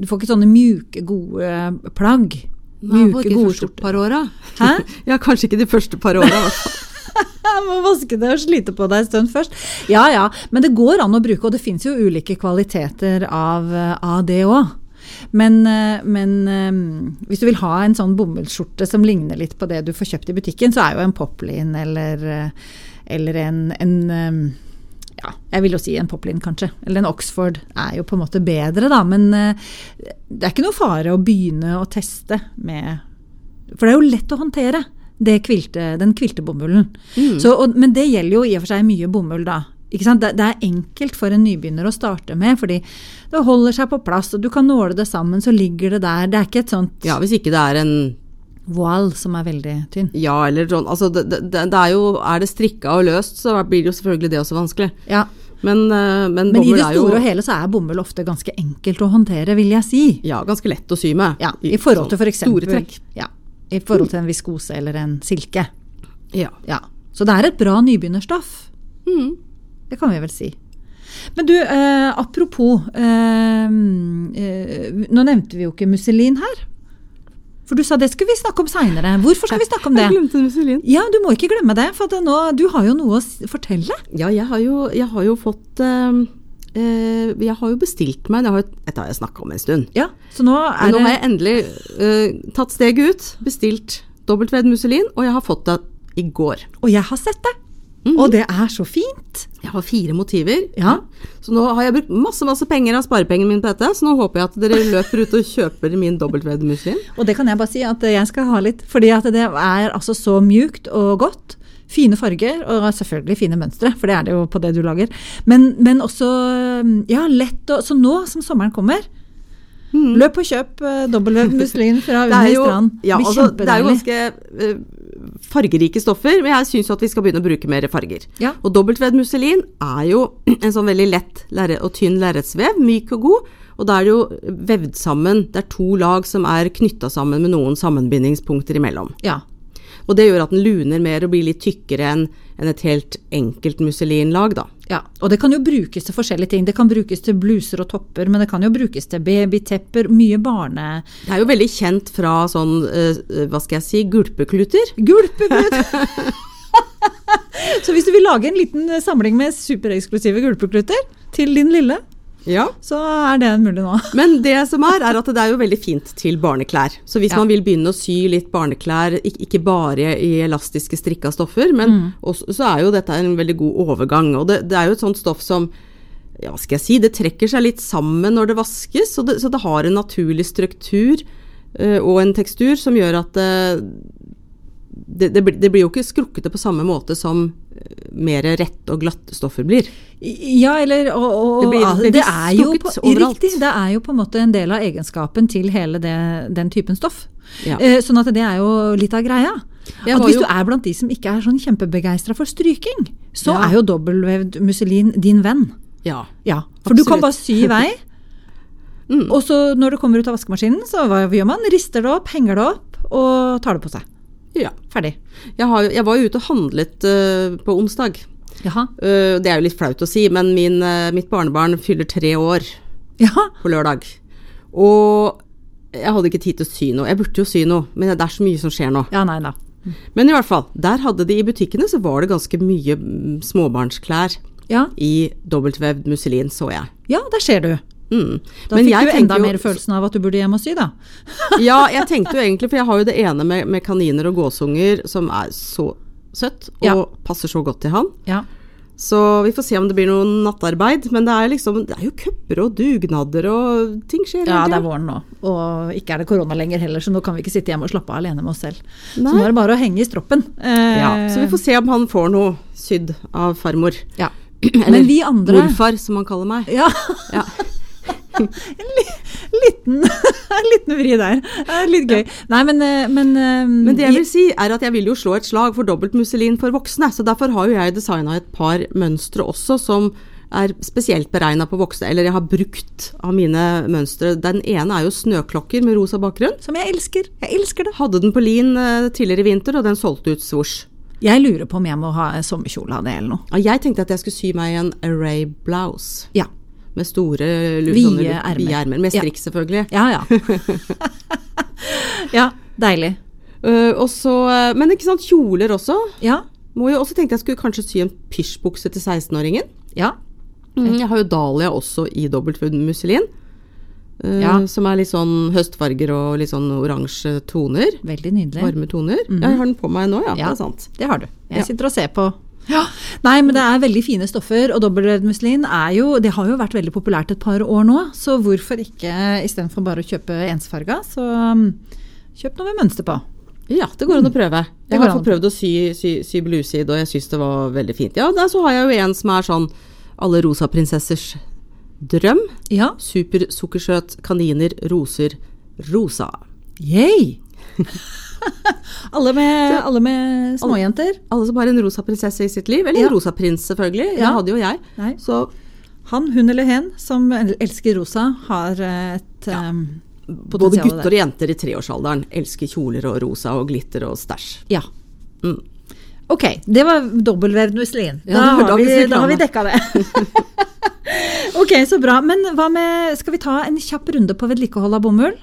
B: du får ikke sånne mjuke, gode plagg.
A: Nei,
B: mjuke,
A: ikke de
B: gode
A: første
B: skjorter.
A: par åra.
B: Hæ?
A: ja, kanskje ikke de første par åra. altså. i hvert fall.
B: Jeg må vaske det og slite på deg en stund først. Ja ja, men det går an å bruke, og det fins jo ulike kvaliteter av, eh, av det òg. Men, eh, men eh, hvis du vil ha en sånn bomullsskjorte som ligner litt på det du får kjøpt i butikken, så er jo en poplin eller, eh, eller en, en eh, ja, jeg vil jo si en poplin, kanskje. Eller en Oxford er jo på en måte bedre, da. Men eh, det er ikke noe fare å begynne å teste med For det er jo lett å håndtere. det kvilte, den kviltebomullen.
A: Mm.
B: Så, og, men det gjelder jo i og for seg mye bomull, da. Ikke sant? Det, det er enkelt for en nybegynner å starte med, fordi det holder seg på plass, og du kan nåle det sammen, så ligger det der. Det er ikke et sånt
A: Ja, hvis ikke det er en
B: voal som er veldig tynn.
A: ja eller sånn Altså, det, det, det er jo Er det strikka og løst, så blir det jo selvfølgelig det også vanskelig.
B: Ja.
A: Men, eh, men,
B: Men i
A: bomull
B: det
A: er jo
B: store og hele så er bomull ofte ganske enkelt å håndtere, vil jeg si.
A: ja, ganske lett å sy med.
B: Ja, I forhold til
A: sånn
B: for eksempel,
A: Store trekk.
B: Ja, I forhold til en viskose eller en silke.
A: Ja.
B: Ja. Så det er et bra nybegynnerstoff.
A: Mm.
B: Det kan vi vel si. Men du, eh, apropos eh, eh, Nå nevnte vi jo ikke Musselin her. For du sa det skulle vi snakke om seinere. Hvorfor skal vi snakke om det?
A: Jeg glemte musselin.
B: Ja, du må ikke glemme det, for at nå, du har jo noe å s- fortelle.
A: Ja, jeg har jo, jeg har jo fått eh, eh, Jeg har jo bestilt meg jeg har, jo- Dette har jeg snakka om en stund.
B: Ja, Så nå
A: Men
B: er
A: nå har
B: det
A: jeg endelig eh, tatt steget ut, bestilt dobbeltvevd musselin, og jeg har fått det i går.
B: Og jeg har sett det!
A: Mm.
B: Og det er så fint!
A: Jeg har fire motiver.
B: Ja.
A: Så nå har jeg brukt masse masse penger av sparepengene mine på dette, så nå håper jeg at dere løper ut og kjøper min dobbeltvevd muslim.
B: Og det kan jeg bare si at jeg skal ha litt, fordi at det er altså så mjukt og godt. Fine farger, og selvfølgelig fine mønstre, for det er det jo på det du lager. Men, men også ja, lett å Så nå som sommeren kommer, løp og kjøp eh, dobbeltvevd muslin fra
A: Mm. Det er
B: Under
A: jo,
B: strand.
A: ja,
B: Blir
A: altså, det er jo
B: kjempedeilig.
A: ganske eh, fargerike stoffer, men jeg syns jo at vi skal begynne å bruke mer farger.
B: Ja.
A: Og dobbeltvevd musselin er jo en sånn veldig lett lerre- og tynn lerretsvev, myk og god. Og da er det jo vevd sammen, det er to lag som er knytta sammen med noen sammenbindingspunkter imellom.
B: Ja.
A: Og det gjør at den luner mer og blir litt tykkere enn enn et helt enkelt musselinlag, da.
B: ja. Og det kan jo brukes til forskjellige ting. Det kan brukes til bluser og topper, men det kan jo brukes til babytepper. Mye barne...
A: Det er jo veldig kjent fra sånn, eh, hva skal jeg si, gulpekluter.
B: Gulpeklut! så hvis du vil lage en liten samling med supereksklusive gulpekluter til din lille,
A: Ja.
B: så er det mulig nå.
A: Men det som er, er at det er jo veldig fint til barneklær. Så hvis
B: Ja.
A: man vil begynne å sy litt barneklær, ik- ikke bare i elastiske strikka stoffer, men også, så er jo dette en veldig god overgang. Og det, det er jo et sånt stoff som ja, hva skal jeg si, det trekker seg litt sammen når det vaskes, så det, så det har en naturlig struktur eh, og en tekstur som gjør at eh, det, det, blir- det blir jo ikke skrukkete på samme måte som eh, mer rett og glatte stoffer blir.
B: Ja, eller og, og,
A: Det blir
B: og-
A: bevisst
B: er jo
A: trukket
B: på,
A: overalt.
B: Riktig, det er jo på en måte en del av egenskapen til hele det, den typen stoff.
A: Ja.
B: Eh, sånn at det er jo litt av greia.
A: Jeg
B: At
A: var
B: hvis
A: jo-
B: du er blant de som ikke er sånn kjempebegeistra for stryking, så
A: Ja.
B: er jo dobbeltvevd musselin din venn.
A: Ja.
B: Ja, for du
A: Absolutt.
B: kan bare sy i vei.
A: Mm.
B: Og så når det kommer ut av vaskemaskinen, så hva gjør man? Rister det opp, henger det opp og tar det på seg.
A: ja.
B: Ferdig.
A: Jeg, har, jeg var jo ute og handlet eh, på onsdag.
B: Jaha.
A: Eh, det er jo litt flaut å si, men min, eh, mitt barnebarn fyller tre år
B: Ja.
A: på lørdag. Og jeg hadde ikke tid til å sy noe. Jeg burde jo sy noe, men det er så mye som skjer nå.
B: ja, nei da.
A: Men i hvert fall, der hadde de i butikkene, så var det ganske mye mm, småbarnsklær
B: Ja,
A: i dobbeltvevd musselin, så jeg.
B: ja der ser du.
A: Mm.
B: Da fikk du enda
A: tenker jo-
B: mer følelsen av at du burde hjem og sy, da.
A: Ja, jeg tenkte jo egentlig, for jeg har jo det ene med, med kaniner og gåsunger som er så søtt, og
B: Ja.
A: passer så godt til han.
B: Ja.
A: Så vi får se om det blir noe nattarbeid. Men det er, liksom, det er jo cuper og dugnader og ting skjer. hele
B: ja, det er
A: tiden.
B: våren nå, og ikke er det korona lenger heller, så nå kan vi ikke sitte hjemme og slappe av alene med oss selv.
A: Nei.
B: Så nå er det bare å henge i stroppen. Eh,
A: ja, Så vi får se om han får noe sydd av farmor.
B: ja.
A: Eller
B: Men vi andre
A: morfar, som han kaller meg.
B: Ja.
A: Ja.
B: En li- liten, en liten vri der. Eh, Litt gøy. Nei, men, eh, men, eh,
A: Men det jeg vil si er at jeg vil jo slå et slag for dobbelt musselin for voksne. Så derfor har jo jeg designa et par mønstre også som er spesielt beregna på voksne. Eller jeg har brukt av mine mønstre. Den ene er jo snøklokker med rosa bakgrunn.
B: Som jeg elsker. Jeg elsker det.
A: Hadde den på lin eh, tidligere i vinter, og den solgte ut svosj.
B: Jeg lurer på om jeg må ha en sommerkjole av det eller noe.
A: Ja, Jeg tenkte at jeg skulle sy meg en array blouse
B: Ja.
A: med store lu-
B: Vide
A: sånne lu-
B: ermer.
A: vide ermer. Med
B: Ja.
A: strikk, selvfølgelig.
B: Ja, ja. ja, deilig.
A: Uh, og så, uh, men ikke sant, kjoler også.
B: Ja.
A: Må jo også tenkte jeg skulle kanskje sy en pysjbukse til 16-åringen.
B: Ja.
A: Jeg har jo dahlia også i dobbeltfud musselin. Uh,
B: Ja.
A: Som er litt sånn høstfarger og litt sånn oransje toner.
B: Veldig nydelig.
A: Varme toner. Ja, Jeg har den på meg nå, ja. Det
B: Mhm. Ja.
A: er sant.
B: Det har du.
A: Ja.
B: Jeg sitter og ser på. Ja. Nei, men det er veldig fine stoffer, og dobbeltrød muslin er jo Det har jo vært veldig populært et par år nå, så hvorfor ikke istedenfor bare å kjøpe ensfarga, så um, kjøp noe mm, med mønster på.
A: Ja, Mm. det går an å prøve. Jeg har i
B: går
A: hvert
B: an å
A: fall prøvd å sy, sy, sy bluse i det, og jeg syns det var veldig fint. Ja, der så har jeg jo en som er sånn alle rosa prinsessers drøm.
B: Ja.
A: Supersukkersøt, kaniner, roser, rosa.
B: Yay! alle, med, alle med småjenter.
A: Alle som har en rosa prinsesse i sitt liv, eller en rosa prins selvfølgelig, det
B: Ja.
A: hadde jo jeg.
B: Nei.
A: Så
B: Han, hun eller hen som el- elsker rosa, har eh, et em,
A: både
B: potensial
A: gutter
B: der.
A: og jenter i treårsalderen elsker kjoler og rosa og glitter og stæsj.
B: Ja.
A: Mm.
B: Ok, det var dobbeltvevd muslim.
A: Ja,
B: da,
A: det var
B: har vi,
A: dagens
B: da har vi
A: reklame.
B: dekka det. ok, så bra. Men hva med Skal vi ta en kjapp runde på vedlikehold av bomull?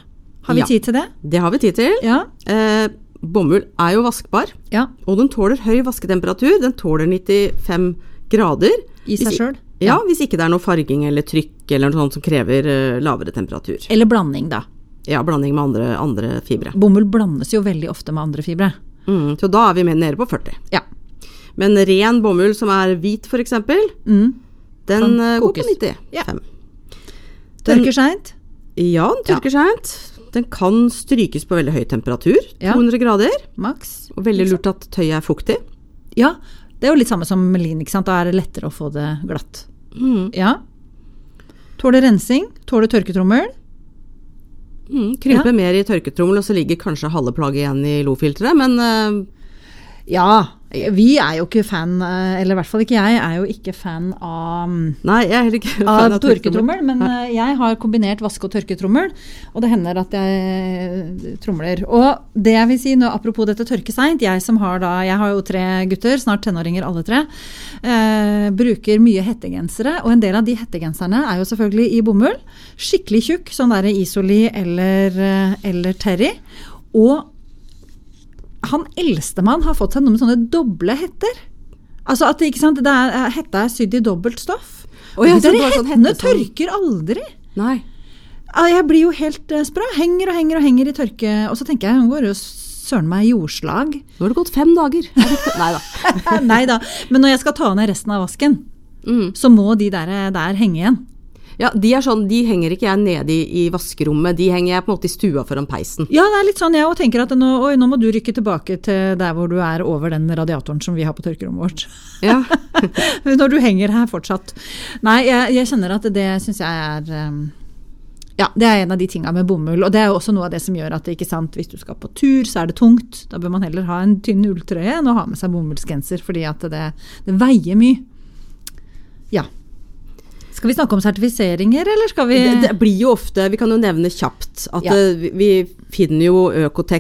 B: Har vi
A: Ja.
B: tid til det?
A: Det har vi tid til.
B: Ja.
A: Eh, bomull er jo vaskbar,
B: ja.
A: og den tåler høy vasketemperatur. Den tåler 95 grader.
B: I seg
A: Hvis-
B: sjøl?
A: Ja, hvis ikke det er noe farging eller trykk eller noe sånt som krever eh, lavere temperatur.
B: Eller blanding, da.
A: Ja, blanding med andre, andre fibre.
B: Bomull blandes jo veldig ofte med andre fibre.
A: Mm, så da er vi mer nede på 40.
B: Ja.
A: Men ren bomull som er hvit f.eks.,
B: Mm.
A: den eh, går
B: kokes.
A: på 95.
B: Ja.
A: Ja,
B: Tørker seint?
A: den tørker seint. Den kan strykes på veldig høy temperatur,
B: Ja.
A: 200 grader.
B: Maks?
A: Og veldig lurt at tøyet er fuktig.
B: Ja. Det er jo litt samme som melin, ikke sant. Da er det lettere å få det glatt.
A: Mm,
B: Ja. Tåler rensing? Tåler tørketrommel?
A: mm, krymper mer i tørketrommel, og så ligger kanskje halve plagget igjen i lofilteret, men eh,
B: Ja. Vi er jo ikke fan, eh, eller i hvert fall ikke jeg, er jo ikke fan av, mm,
A: nei, jeg er heller ikke fan
B: av tørketrommel. Men eh, jeg har kombinert vaske- og tørketrommel, og det hender at jeg tromler. Og det jeg vil si nå, apropos dette tørke seint, jeg som har da Jeg har jo tre gutter, snart tenåringer alle tre. Eh, bruker mye hettegensere, og en del av de hettegenserne er jo selvfølgelig i bomull. Skikkelig tjukk, sånn derre Isoli eller, eh, eller Terry. Og han eldstemann har fått seg noe med sånne doble hetter. Altså at det- ikke sant, det er, Hetta er sydd i dobbelt stoff.
A: Å ja,
B: Og de
A: så det
B: der
A: var sånn
B: hettene
A: hette som-
B: tørker aldri.
A: Nei.
B: Ja, Jeg blir jo helt eh, sprø. Henger og henger og henger i tørke. Og så tenker jeg hun går jo søren meg i jordslag.
A: Nå har det gått fem dager. Nei da.
B: Nei da. Men når jeg skal ta ned resten av vasken,
A: Mm.
B: så må de der, eh, der henge igjen.
A: Ja, de er sånn, de henger ikke jeg nede i, i vaskerommet, de henger jeg på en måte i stua foran peisen.
B: Ja, det er litt sånn jeg òg tenker at nå, oi, nå må du rykke tilbake til der hvor du er over den radiatoren som vi har på tørkerommet vårt.
A: Ja.
B: Når du henger her fortsatt. Nei, jeg, jeg kjenner at det syns jeg er um, Ja, det er en av de tinga med bomull. Og det er jo også noe av det som gjør at det, ikke sant, hvis du skal på tur, så er det tungt. Da bør man heller ha en tynn ulltrøye enn å ha med seg bomullsgenser, fordi at det, det veier mye. Ja. Skal vi snakke om sertifiseringer, eller skal vi
A: Det, det blir jo ofte, vi kan jo nevne kjapt, at
B: Ja.
A: eh, vi- vi finner jo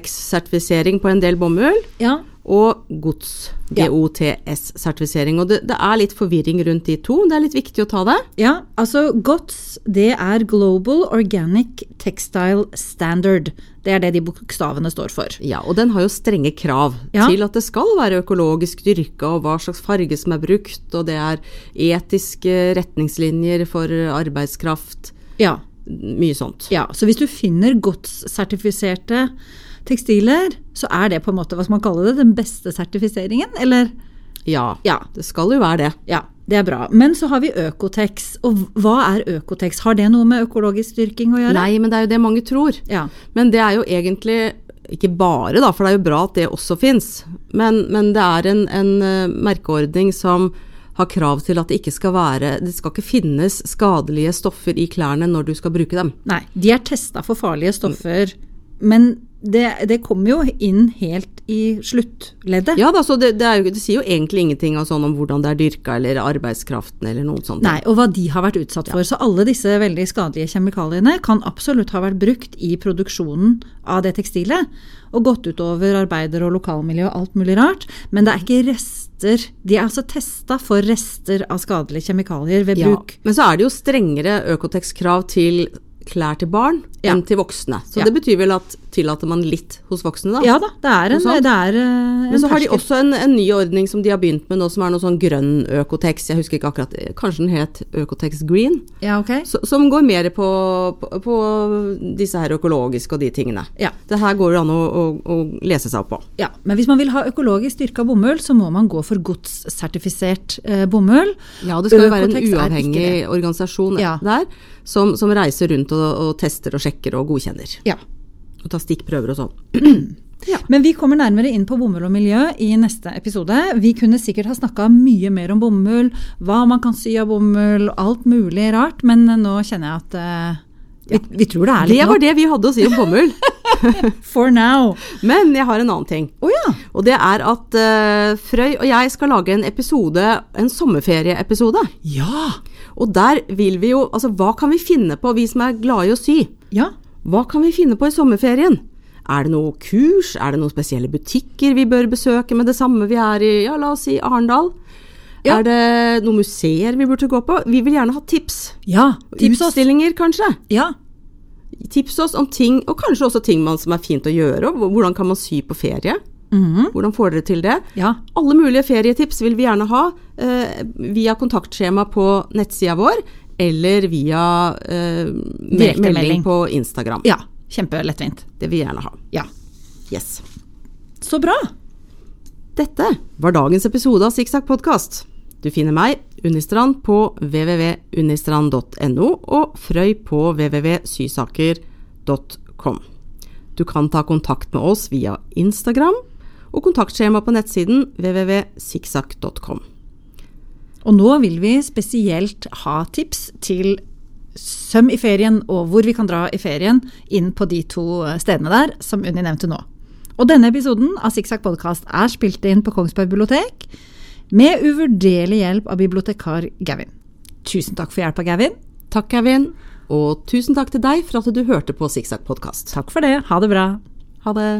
A: Økotex-sertifisering på en del bomull,
B: Ja.
A: og GOTS,
B: Ja.
A: GOTS-sertifisering. Og det, det er litt forvirring rundt de to, det er litt viktig å ta det.
B: Ja, altså GOTS, det er Global Organic Textile Standard. Det er det de bokstavene står for.
A: Ja, og den har jo strenge krav
B: Ja.
A: til at det skal være økologisk dyrka, og hva slags farge som er brukt, og det er etiske retningslinjer for eh, arbeidskraft,
B: Ja.
A: mye sånt.
B: Ja, så hvis du finner GOTS-sertifiserte tekstiler, så er det på en måte, hva skal man kalle det, den beste sertifiseringen, eller?
A: Ja,
B: Ja.
A: det skal jo være det.
B: Ja, det er bra. Men så har vi Økotex, og hva er Økotex? Har det noe med økologisk dyrking å gjøre?
A: Nei, men det er jo det mange tror.
B: Ja.
A: Men det er jo egentlig ikke bare, da, for det er jo bra at det også fins. Men, men det er en, en eh, merkeordning som har krav til at det ikke skal være Det skal ikke finnes skadelige stoffer i klærne når du skal bruke dem.
B: Nei, de er testa for farlige stoffer, men det, det kommer jo inn helt i sluttleddet.
A: Ja da, så det, det, er jo, det sier jo egentlig ingenting av sånn om hvordan det er dyrka eller arbeidskraften eller noen sånne
B: Nei, og hva de har vært utsatt for. Så alle disse veldig skadelige kjemikaliene kan absolutt ha vært brukt i produksjonen av det tekstilet, og gått utover arbeider og lokalmiljø og alt mulig rart. Men det er ikke rester. De er altså testa for rester av skadelige kjemikalier ved
A: Ja,
B: bruk.
A: men så er det jo strengere Økotex-krav til klær til barn
B: Ja.
A: enn til voksne. Så
B: Ja.
A: det betyr vel at tillater man litt hos voksne, da.
B: Ja da, det er en,
A: sant?
B: det er, eh,
A: Men
B: en
A: så har de
B: terskel.
A: også en, en ny ordning som de har begynt med nå, som er noe sånn grønn Økotex. Jeg husker ikke akkurat, kanskje den het Økotex Green?
B: Ja, ok.
A: Så, som går mer på, på, på disse her økologiske og de tingene.
B: Ja.
A: Det her går det an å, å, å lese seg opp på.
B: Ja, men hvis man vil ha økologisk dyrka bomull, så må man gå for godssertifisert eh, bomull.
A: Ja, det skal jo være
B: Økotex er
A: en
B: ikke
A: uavhengig
B: det.
A: organisasjon
B: Ja.
A: der som, som reiser rundt og, og tester og sjekker og godkjenner.
B: Ja.
A: Og tar stikkprøver og sånn. Ja.
B: Men vi kommer nærmere inn på bomull og miljø i neste episode. Vi kunne sikkert ha snakka mye mer om bomull, hva man kan sy av bomull, alt mulig rart, men nå kjenner jeg at eh, vi, vi tror det er
A: Det
B: litt
A: var det vi hadde å si om bomull.
B: nok. For now.
A: Men jeg har en annen ting.
B: Å ja.
A: Og det er at eh, Frøy og jeg skal lage en episode, en sommerferieepisode.
B: ja!
A: Og der vil vi jo Altså, hva kan vi finne på, vi som er glade i å sy?
B: Ja.
A: Hva kan vi finne på i sommerferien? Er det noe kurs? Er det noen spesielle butikker vi bør besøke med det samme vi er i, ja, la oss si Arendal?
B: Ja.
A: Er det noen museer vi burde gå på? Vi vil gjerne ha tips.
B: ja. Tips oss.
A: Utstillinger, kanskje.
B: Ja.
A: Tips oss om ting, og kanskje også ting man, som er fint å gjøre. og Hvordan kan man sy på ferie?
B: Mhm.
A: Hvordan får dere til det?
B: ja.
A: Alle mulige ferietips vil vi gjerne ha eh, via kontaktskjema på nettsida vår, eller via eh, me
B: Direktemelding.
A: melding på Instagram.
B: Ja. Kjempelettvint.
A: Det vil vi gjerne ha.
B: Ja.
A: Yes.
B: Så bra.
A: Dette var dagens episode av Sikksakk podkast. Du finner meg, Unnistrand, på www.unnistrand.no og Frøy på www.sysaker.com. Du kan ta kontakt med oss via Instagram og kontaktskjema på nettsiden www.sikksakk.com.
B: Og nå vil vi spesielt ha tips til søm i ferien og hvor vi kan dra i ferien inn på de to eh, stedene der som Unni nevnte nå. Og denne episoden av Sikksakk podkast er spilt inn på Kongsberg bibliotek med uvurderlig hjelp av bibliotekar Gavin. Tusen takk for hjelpa, Gavin.
A: Takk, Kevin, og tusen takk til deg for at du hørte på Sikksakk podkast.
B: Takk for det. Ha det bra.
A: Ha det.